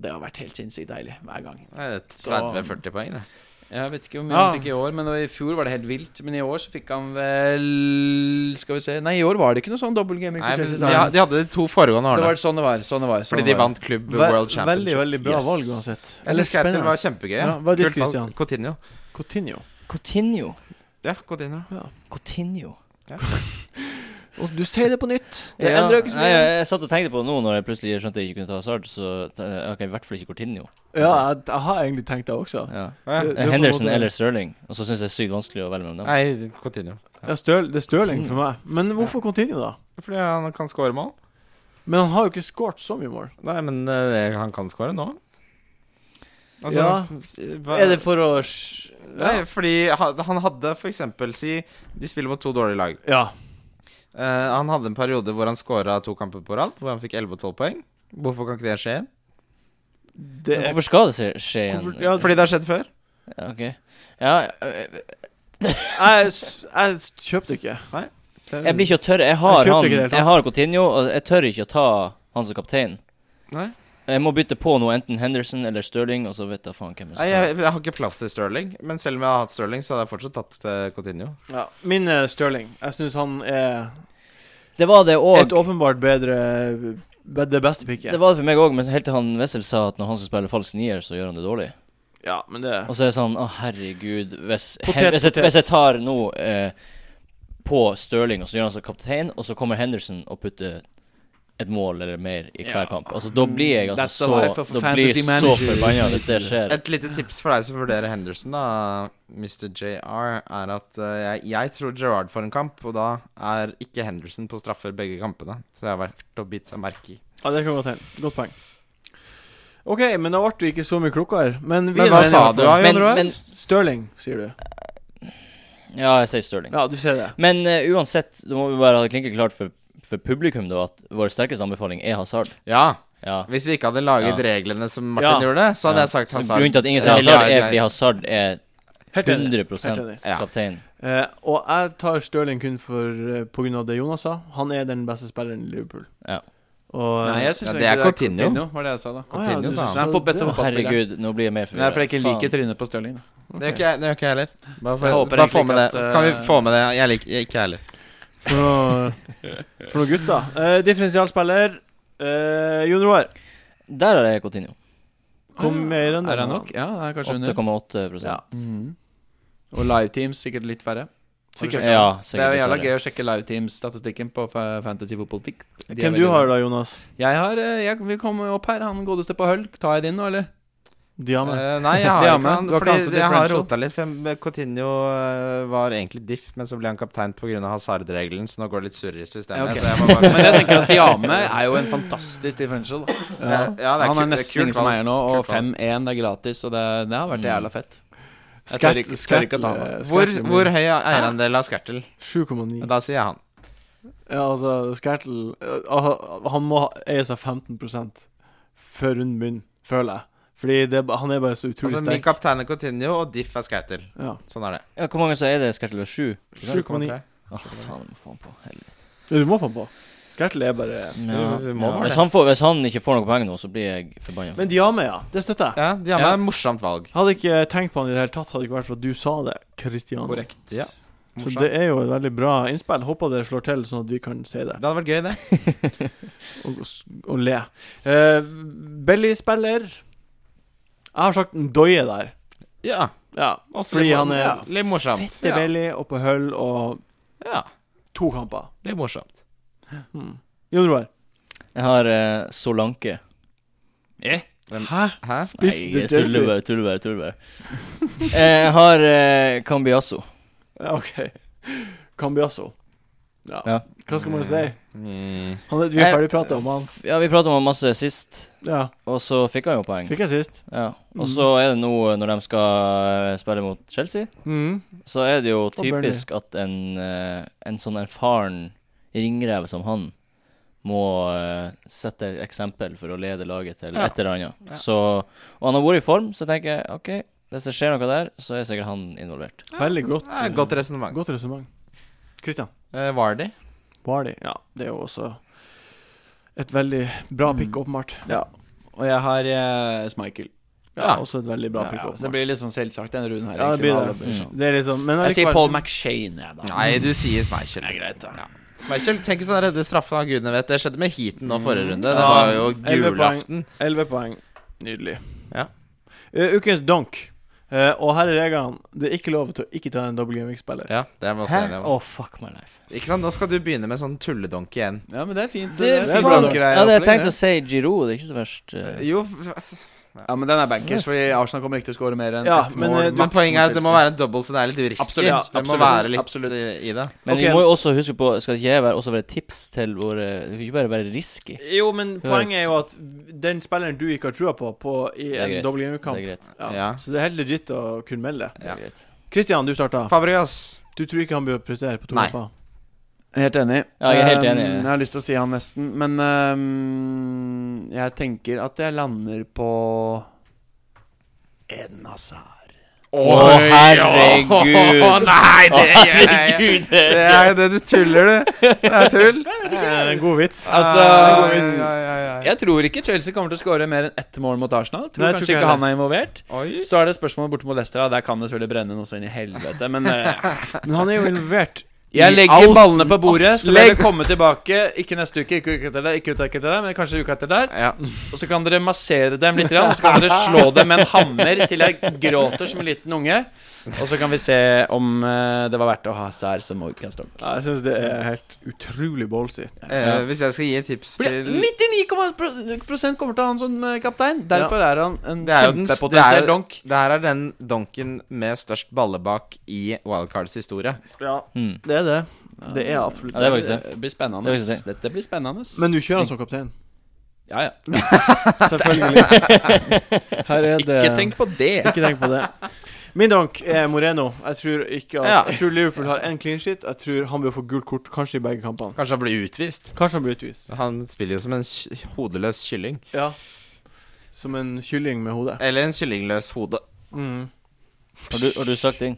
Det har vært helt sinnssykt deilig hver gang.
Nei, det er 30-40 poeng, det.
Jeg vet ikke hvor mye
Ja.
han fikk i år, men det var- i fjor var det helt vilt. Men i år så fikk han vel Skal vi se Nei, i år var det ikke noe sånn dobbel gaming.
Nei,
for
men
Chelsea,
de,
sa han.
de hadde de to foregående
Det
årene.
var sånn det var. Sånn det var sånn
Fordi
det
de
var.
vant Klubb
Ve-
World
Veldig,
Championship.
veldig bra
Yes.
valg uansett.
Jeg syns Skertel var
Spennende.
kjempegøy.
Ja, hva er ditt,
Kult valg.
Christian?
Coutinho.
Coutinho.
Coutinho.
Ja, Coutinho.
Coutinho.
Og du sier det på nytt. Det
Ja,
endrer jo ikke så
nei,
mye.
jeg, jeg satt og tenkte på det nå når jeg plutselig skjønte jeg ikke kunne ta hasard, så ta- jeg kan i hvert fall ikke Coutinho.
Ja, jeg, jeg har egentlig tenkt det også.
Ja.
Ja.
Det- det er på en
Henderson
måte-
eller Sterling. Og så syns jeg det er sykt vanskelig å velge mellom dem.
Nei, Coutinho.
Ja, Støl, det er Stirling for meg. Men hvorfor Coutinho, da?
Fordi han kan score mål.
Men han har jo ikke skåret så mye mål.
Nei, men eh, han kan score nå. Altså,
Ja.
hva-
Er det for å sj-
Nei, fordi han han hadde for eksempel Si de spiller mot to dårlige lag.
Ja.
Eh, han hadde en periode hvor han scora to kamper på rad, hvor han fikk 11 og 12 poeng. Hvorfor kan ikke det skje igjen?
Det er
Hvorfor skal det skje- skje igjen?
Hvorfor- ja,
Fordi det har skjedd før.
Ja, ok. Ja, eh, jeg,
jeg, s- jeg s- kjøpte ikke.
Det-
jeg blir ikke å tørre. Jeg
Jeg
har
kjøpte ikke
han
det i det hele
Jeg har Coutinho, og jeg tør ikke å ta han som kaptein.
Nei.
Jeg må bytte på noe, enten Henderson eller Sterling, og så vet jeg faen hvem
Nei,
jeg skal
jeg, jeg har ikke plass til Sterling, men selv om jeg har hatt Sterling, så hadde jeg fortsatt tatt eh, Coutinho.
Ja. Min er Stirling. Jeg syns han er
Det var det
et
òg.
åpenbart bedre be- Det beste
Det
picket.
var det for meg òg, men helt til han Wessel sa at når han skal spille falsk nier, så gjør han det dårlig.
Ja, men det
Og så er det sånn Å, herregud. Hvis,
Potet,
he, hvis, jeg,
potet.
hvis jeg tar nå eh, på Stirling, og så gjør han som kaptein, og så kommer Henderson og putter et mål eller mer i hver
Ja.
kamp Altså, da blir jeg
That's
altså
the life
så
of a
Da blir jeg
fantasy
så
manager.
forbanna hvis det skjer.
Et lite tips for deg som vurderer Henderson, da, Mr. JR, er at eh, jeg, jeg tror Gerrard får en kamp, og da er ikke Henderson på straffer begge kampene. Så det har vært å bite seg merke i.
Ja, det kan godt hende. Godt poeng. OK, men da ble du ikke så mye klokere. Men, vi
Men
er
hva
enige i
sa
hvert
du,
fall.
da,
Men,
Jon Roar?
men
Stirling, sier du.
Ja, jeg sier Stirling.
Ja, du sier det.
Men eh, uansett, da må vi bare ha det klinket klart for, for publikum, da, at vår sterkeste anbefaling er Hazard.
Ja.
Ja.
Hvis vi ikke hadde laget
Ja.
reglene som Martin
Ja.
gjorde, så hadde
Ja.
jeg sagt Hazard.
Grunnen til at ingen sier
Ja,
Hazard,
ja,
er
ja.
fordi Hazard er
Helt enig.
100
Helt enig.
Ja.
kaptein.
Eh, og jeg tar Stirling kun for, eh, på grunn av det Jonas sa. Han er den beste spilleren i Liverpool.
Ja.
Og eh,
Nei, jeg syns
Ja, det
egentlig
er Coutinho.
var det jeg sa da.
Å ja,
Coutinho,
du
sa
synes
han.
han-
Nei, for beste
det-
Å, Herregud, nå blir jeg mer
Nei, for jeg ikke liker
Faen.
trynet på Stirling. da.
Det gjør ikke jeg, det gjør ikke jeg heller. Bare,
Så jeg
for,
håper
bare få
egentlig
med
ikke
det.
at,
Kan vi
eh,
få med det? Jeg liker jeg- ikke jeg heller.
For noen noe gutter. Eh, differensialspiller eh, Jon Roar.
Der har jeg Coutinho.
Ah,
Hvor mer enn det?
Er han nok? Ja, det er kanskje under.
8,8
Ja. Mhm. Og liveteams sikkert litt færre.
Sikkert.
Ja,
Det er jo jævla
sikkert.
gøy å sjekke liveteams-statistikken på fa- Fantasy Football Tick. De er
Hvem
veldig
du har
bra.
da, Jonas?
Jeg har eh, jeg, Vi kommer jo opp her. Han godeste på høll. Tar jeg din nå, eller?
Diane.
Eh, nei, jeg har
Ja,
ikke
men
han.
du har ikke
Fordi
han som
jeg har
differential.
rota litt. For Cotinho var egentlig diff, men så ble han kaptein pga. hasardregelen, så nå går det litt surr i systemet.
Ja, ok.
Så jeg må bare
Men jeg tenker at Diame er jo en fantastisk differential.
ja, ja, det er
Han
kult-
er
det
nesten
kult
ingen som
valg.
eier nå, og
Kult valg.
5-1 det er gratis, og det, det har vært jævla fett. Jeg tør
Skatt-
ikke, tør ikke Mm. å ta meg.
skatt-
Hvor,
skatt-
hvor høy er eierandel av Skertel?
7,9.
Da sier jeg han.
Ja, altså, Skertel eh, ah, Han må ha- eie seg 15 før runden begynner, føler jeg. Fordi det, er ba- han er bare så utrolig
Altså, min
sterk.
kaptein er Cotinho, og diff er Skertel.
Ja.
Sånn er det.
Ja, hvor mange så er det? Skertel 7?
7,9.
Åh, faen, jeg må få han på. Helvete.
Ja, Du må få han på. Skertel er bare
Ja.
Du må bare
Hvis,
det.
han får, hvis han ikke får noe poeng nå, så blir jeg forbanna.
Men Diame, ja. Det støtter jeg.
Ja, Diame
Ja.
er et morsomt valg.
Hadde ikke tenkt på han i det hele tatt, hadde ikke vært for at du sa det, Christian.
Korrekt.
Ja.
Så
Morsomt.
det er jo et veldig bra innspill. Håper det slår til, sånn at vi kan si det.
Det hadde vært gøy, det.
og, og le. Eh, Belly-spiller Jeg har sagt en doie der.
Ja.
Ja,
Også
fordi
litt,
han er
ja, litt morsomt.
fette
Ja.
belly og på hull og
Ja,
to kamper.
litt morsomt.
Hmm. Jon Roar.
Jeg har eh, Solanke.
Eh,
Hæ?
Hæ?
Nei,
Spiss
jeg
til
tuller
Chelsea?
bare, tuller bare. tuller bare. Eh, Jeg har eh, Cambiasso.
Ja, OK. Cambiasso. Ja.
Ja.
Hva skal man si?
Mm.
Han, er- vi er
Jeg-
ferdigprata om han.
Ja, vi prata om han masse sist,
Ja.
og så fikk han jo poeng.
Fikk jeg sist.
Ja.
Mm.
Og så er det nå, eh, når de skal eh, spille mot Chelsea,
Mhm.
så er det jo
Burnley.
typisk at en, eh, en sånn erfaren ringrev som han må eh, sette et eksempel for å lede laget til
Ja.
et eller annet. Så, og han har vært i form, så tenker jeg OK, hvis det skjer noe der, så er sikkert han involvert.
Veldig godt.
Det er et godt resonnement.
Godt resonnement. Christian.
Eh, Vardy?
Barley. Ja, det er jo også et veldig bra pick, åpenbart.
Ja. Og jeg har eh, Smichael.
Ja,
Ja.
også et veldig bra pick,
Ja, så det
åpenbart.
blir litt sånn selvsagt denne runden her.
Ja, det blir
egentlig.
det.
Alle blir sånn.
Det er liksom Men
Jeg sier
allikevel-
Paul McShane, jeg, da.
Nei, du sier Schmeichel.
Det er greit, da.
Ja. Schmeichel, tenk sånn redde straffen av gudene vet. Det skjedde med heaten nå forrige runde. Det
Ja.
var jo
Elleve poeng.
julaften.
11 poeng. Nydelig.
Ja.
Eh, ukens donk. Eh, og her er reglene. Det er ikke lov til å ikke ta en double gaming-spiller.
Ja, det er vi også
Hæ?
enige
Å,
om.
fuck my life.
Ikke sant, Nå skal du begynne med sånn tulledonk igjen.
Ja, men det er fint.
Det er
det er
faen,
bra.
jeg hadde jeg tenkt å si Giro, det er ikke så verst. eh.
Jo, f-
Ja, men den er bankers, fordi Arsenal kommer ikke til å skåre mer enn
Ja,
ett
men,
mål.
eh,
men
maks
poenget er at
mot
det må
Chelsea.
være en double, så det er litt risky.
Absolutt, ja,
det må
absolutt,
være litt
absolutt.
eh, i det.
Men
ok.
vi må jo også huske på Skal det ikke jeg være, også være tips til våre Det kan ikke bare være risky.
Jo, men poenget er jo at den spilleren du ikke har trua på, på i
er
en
greit.
double
Det er
gaming-kamp
greit.
ja.
Ja.
Så det er helt legit å kunne melde det.
Det er greit.
Christian, du starta.
Fabregas.
Du tror ikke han bør prestere på to
Nei.
kamper?
Helt enig.
Ja, jeg er helt enig.
Um, jeg har lyst til å si han nesten, men um, jeg tenker at jeg lander på Eden Hazard.
Å,
herregud.
Nei, det gjør jeg
Herregud! det
Det er det du tuller, du. Det er tull.
Eh, god vits.
Altså,
Ah, ja, ja, ja, ja.
jeg tror ikke Chelsea kommer til å skåre mer enn ett mål mot Arsenal. Tror
Nei, jeg tror
kanskje
ikke heller.
ikke han er involvert.
Oi.
Så er det spørsmålet borte mot Leicester. da. Der kan det selvfølgelig brenne noe så inn i helvete, men eh,
Men han er jo involvert.
Jeg
I
legger
alt.
ballene på bordet, så vil
Legg.
jeg komme tilbake. Ikke neste uke, ikke uka etter det, ikke uka etter det, men kanskje uka etter der.
Ja.
Og så kan dere massere dem litt, grann, og så kan dere slå dem med en hammer til jeg gråter som en liten unge. Og så kan vi se om eh, det var verdt å ha sær som Morgenstokk.
Ja, jeg syns det er helt utrolig ballsy.
Eh, hvis jeg skal gi et tips til
99,1 kommer til å ha han som eh, kaptein. Derfor er han en
Det er jo den s- det er
kjempepotensiell
jo-
donk.
Det her er den donken med størst ballebak i Wildcards historie.
Ja,
Mm.
det er det. Det er absolutt
Ja, det var ikke det.
blir spennende.
Det var ikke
Dette blir spennende.
Men du kjører han som kaptein?
Ja, ja.
Selvfølgelig. Her er det
Ikke tenk på det.
Ikke tenk på det. Min donk er Moreno. Jeg tror, ikke at,
Ja.
jeg tror Liverpool har én clean sheet. Jeg tror han bør få gult kort, kanskje i begge kampene.
Kanskje han blir utvist?
Kanskje han blir utvist.
Han spiller jo som en ky- hodeløs kylling.
Ja. Som en kylling med hode.
Eller en kyllingløs hode.
Mm.
Har du, har du sagt inn?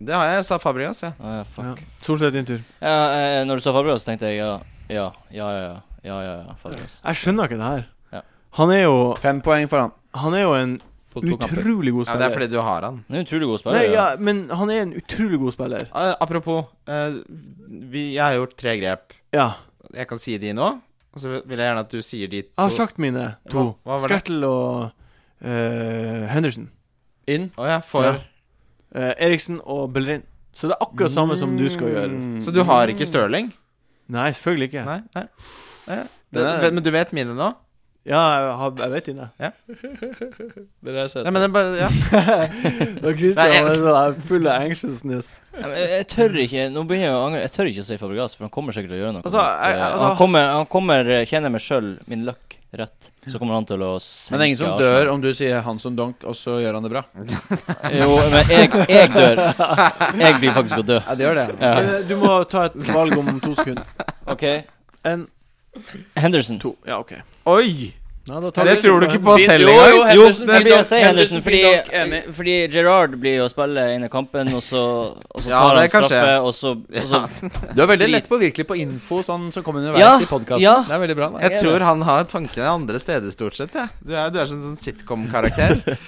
Det har jeg, sa Fabregas, ja.
Å, ja, fuck.
Ja. Solseth, din tur.
Ja, eh, når du sa Fabregas, tenkte jeg ja, ja, ja, ja, ja, ja, ja, ja Fabregas.
Jeg skjønner ikke det her.
Ja.
Han er jo
Fem poeng for han.
Han er jo en
På to kamper.
utrolig god
ja. Det
spiller.
er fordi du har han.
Han er en utrolig god spiller.
Nei, ja,
ja.
men han er en utrolig god spiller.
Eh, apropos, eh, vi, jeg har gjort tre grep.
Ja.
Jeg kan
Ah,
si de nå, og så vil jeg gjerne at du sier de to.
Jeg har sagt mine to.
Hva- hva var det?
Skertel og eh, Henderson,
Inn.
Å ja, for
Ja. eh, Eriksen og Bellerin. Så det er akkurat samme som du skal gjøre.
Så du har ikke Stirling?
Nei, selvfølgelig ikke.
Nei? nei. Eh, Det,
Nei.
men du vet mine nå?
Ja, jeg, har, jeg vet dine.
Dere har sett
Nei, men det er bare, ja.
Og Christian er sånn her full av anxiousness.
Ja, men Jeg, jeg tør ikke Nå begynner jeg å angre. Jeg tør ikke å si Fabregas, for han kommer sikkert til å gjøre noe.
Altså, jeg-
Eh,
altså-
han, kommer, han kommer, eh, kjenner jeg meg sjøl, min luck, rett, så kommer han til å senke
Men det er ingen som
Arsenal.
dør om du sier 'han som donk', og så gjør han det bra.
Jo, men jeg, jeg dør. Jeg blir faktisk å dø.
Ja, det gjør det.
Ja.
Eh, Du må ta et valg om to sekunder.
OK.
En,
Henderson.
to. Ja, OK.
Oi!
Nei, da tar liksom
Det
vi-
tror du ikke på
Fint.
selv
Jo,
engang.
jo,
Jo,
Henderson,
det
fint
blir å
nok.
si
Henderson,
Henderson, fordi,
fint nok. Enig.
fordi Gerrard blir jo å spille inn i kampen, og så, og så
Ja,
tar
det
han
kan skje.
straffe, og så, og så
Du er veldig lett på virkelig på info sånn som kommer underveis
Ja,
i podkasten.
ja.
Det er veldig bra. Da.
Jeg tror han har tankene andre steder, stort sett. Ja. Du, er, du er sånn, sånn sitcom-karakter.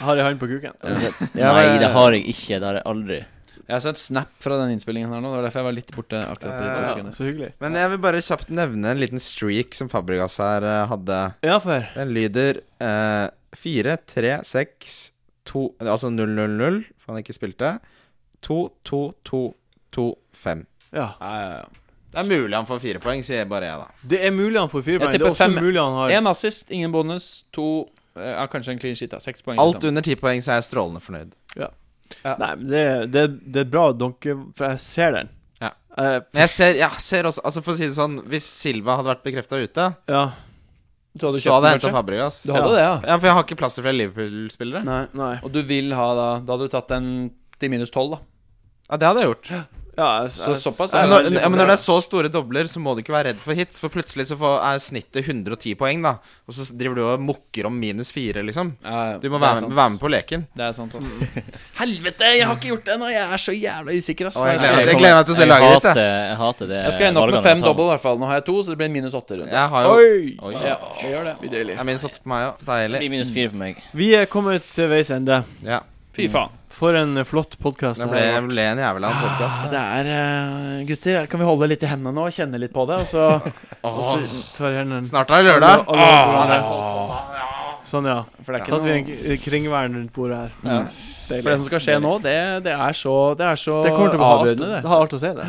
Har jeg hånd på kuken?
Ja,
Nei,
men-
det har jeg ikke. Det har jeg aldri.
Jeg har sett snap fra den innspillingen her nå. Det var derfor jeg var litt borte akkurat på de to
Ja,
Eh, Ja,
sekundene.
så hyggelig.
Men jeg vil bare kjapt nevne en liten streak som Fabregas her eh, hadde.
Ja, for
Den lyder eh, 4, 3, 6, 2 Altså 0, 0, 0, for han ikke spilte. 2, 2, 2, 2, 5.
Ja.
Ja, ja, ja.
Det er mulig han får fire poeng, sier bare jeg, da.
Det er mulig han får fire
Jeg
poeng. Det er
tipper
også
fem.
mulig han har
En assist, ingen bonus. To eh, ja, Kanskje en clean sheet. Da. Seks poeng.
Alt
liksom.
under ti poeng, så er jeg strålende fornøyd.
Nei, men det, det, det er bra donke, for jeg ser den.
Ja.
Eh,
Men jeg ser, jeg ser også Altså For å si det sånn, hvis Silva hadde vært bekrefta ute,
ja.
Så hadde du
så hadde
kjøpt den,
jeg henta
kanskje?
Fabregas.
Du hadde det,
Ja, for jeg har ikke plass til flere Liverpool-spillere.
ja. Nei.
Nei.
Og du vil ha da Da hadde du tatt en til minus tolv, da.
Ja, det hadde jeg gjort.
Ja, jeg,
Så såpass
Ja,
er
jeg-
når,
det
ja, men når det er så store dobler, så må du ikke være redd for hits. For plutselig så får, er snittet 110 poeng, da. Og så driver du og mukker om minus 4, liksom.
Ja, ja.
Du må
Det er
være med,
sant.
være med på leken.
Det er sant, ass. Helvete, jeg har ikke gjort det ennå! Jeg er så jævla usikker, ass.
Å, jeg
Hva
gleder meg
jeg,
til-
skal-
gleder meg til å se laget ditt, jeg.
hater, jeg. hater det.
jeg skal ende opp med
valgene
fem
jeg tar.
dobbel, i hvert fall. Nå har jeg to, så det blir minus åtte runde.
Jeg har jo
Oi!
Oi.
Ja, vi gjør det.
Det er minus 8 på meg òg. Deilig.
Det blir minus fire på meg.
Vi er kommet til veis ende.
Ja.
Fy faen.
For en eh, flott podkast.
Det ble, ble en jævla
Ja,
podkast.
Ah, det er eh, Gutter, kan vi holde litt i hendene nå og kjenne litt på det? Og så
Tar gjerne en
Snart er det lørdag.
Alle- alle- Sånn, ja.
For
Så
det er Ah! ikke
hadde vi en k- eh, kringvern rundt bordet her.
Ja.
Deilig.
For det som skal skje nå, det, det er så, det er så
Det kommer til å ha alt,
avgjørende,
det
det.
har alt å si, det.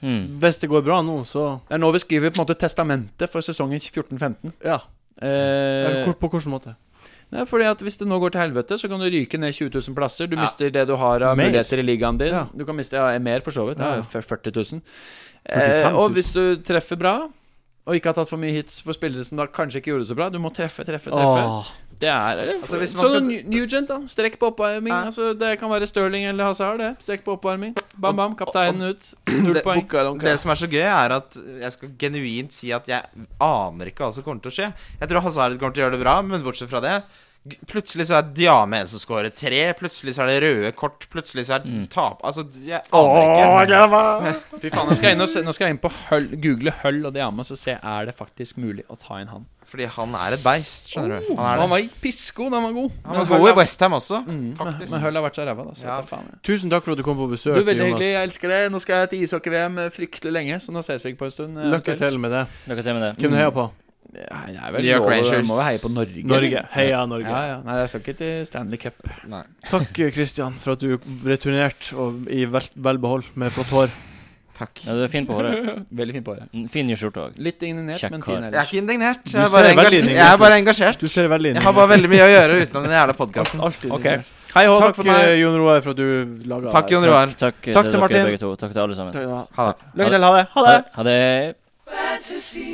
Mm.
Hvis det går bra nå, så
Det er nå vi skriver på en måte testamentet for sesongen 14-15.
Ja. Eller
Eh,
hvor- På hvilken måte?
nei, fordi at Hvis det nå går til helvete, så kan du ryke ned 20 000 plasser. Du
Ja.
mister det du har av
Mer.
muligheter i ligaen din.
Ja.
Du kan miste ja, mer, for så vidt.
Ja.
Ja. 40 000.
45
Eh,
000.
og hvis du treffer bra, og ikke har tatt for mye hits for spillere som da kanskje ikke gjorde det så bra Du må treffe, treffe, treffe.
Åh.
Det er eller?
Altså, hvis man
Sånn
skal-
New- Nugent, da. Strekk på oppvarming.
Ja.
Altså, det kan være Stirling eller Hazard, det. Strekk på oppvarming. Bam, bam. Kapteinen ut. Null
det-
poeng.
Det som er så gøy, er at jeg skal genuint si at jeg aner ikke hva som kommer til å skje. Jeg tror Hazard kommer til å gjøre det bra, men bortsett fra det g- Plutselig så er Diame en som scorer tre, plutselig så er det røde kort, plutselig så er det tap Altså, jeg aner ikke.
Fy faen, nå skal jeg inn, og se, nå skal jeg inn på høll, google Høll og Diama og se er det faktisk mulig å ta inn han.
Fordi han er et beist, skjønner du. Oh. Han
Han
er det.
var pissegod da han var god.
Han var
Men
god i
Hull har-
Westham også,
Mm, men- Men
faktisk.
Høll har vært så ræva, da. Så
Ja.
ta faen, jeg.
Tusen takk for at du kom på besøk,
Du, Veldig
Jonas.
hyggelig. Jeg elsker det. Nå skal jeg til ishockey-VM eh, fryktelig lenge, så nå ses vi ikke på en stund. eh,
Lykke
eventuelt.
til med det.
Lykke til med det.
Hvem du heier på?
Ja, det er vel
New York
lov å-
Rangers.
Må jo heie på Norge.
Norge. Heia Norge.
Mm. Ja, ja. Nei, jeg skal ikke til Stanley Cup.
Nei.
Takk, Kristian, for at du returnerte og i vel, vel behold med flott hår.
Takk.
Ja, du er fin på håret.
Veldig fin på håret.
Mm, Fin i skjorta òg.
Litt indignert,
Kjekk
men
kar.
fin
Jeg er
ellers.
ikke indignert.
Du
Jeg er
ser
bare
veldig
engasjert.
indignert
Jeg er bare
Du
engasjert.
ser veldig inn
Jeg har bare veldig mye å gjøre utenom den jævla podkasten.
Alltid
Ok.
indignert.
Hei, og
Takk,
takk for meg.
eh, Jon Roar, for at du laga
Takk, Jon Roar.
Takk, takk
Takk
til
til
dere
Martin.
begge to. Takk til alle sammen.
Ha det.
Lykke til. Ha det. Ha det.
Ha det.
fantasy.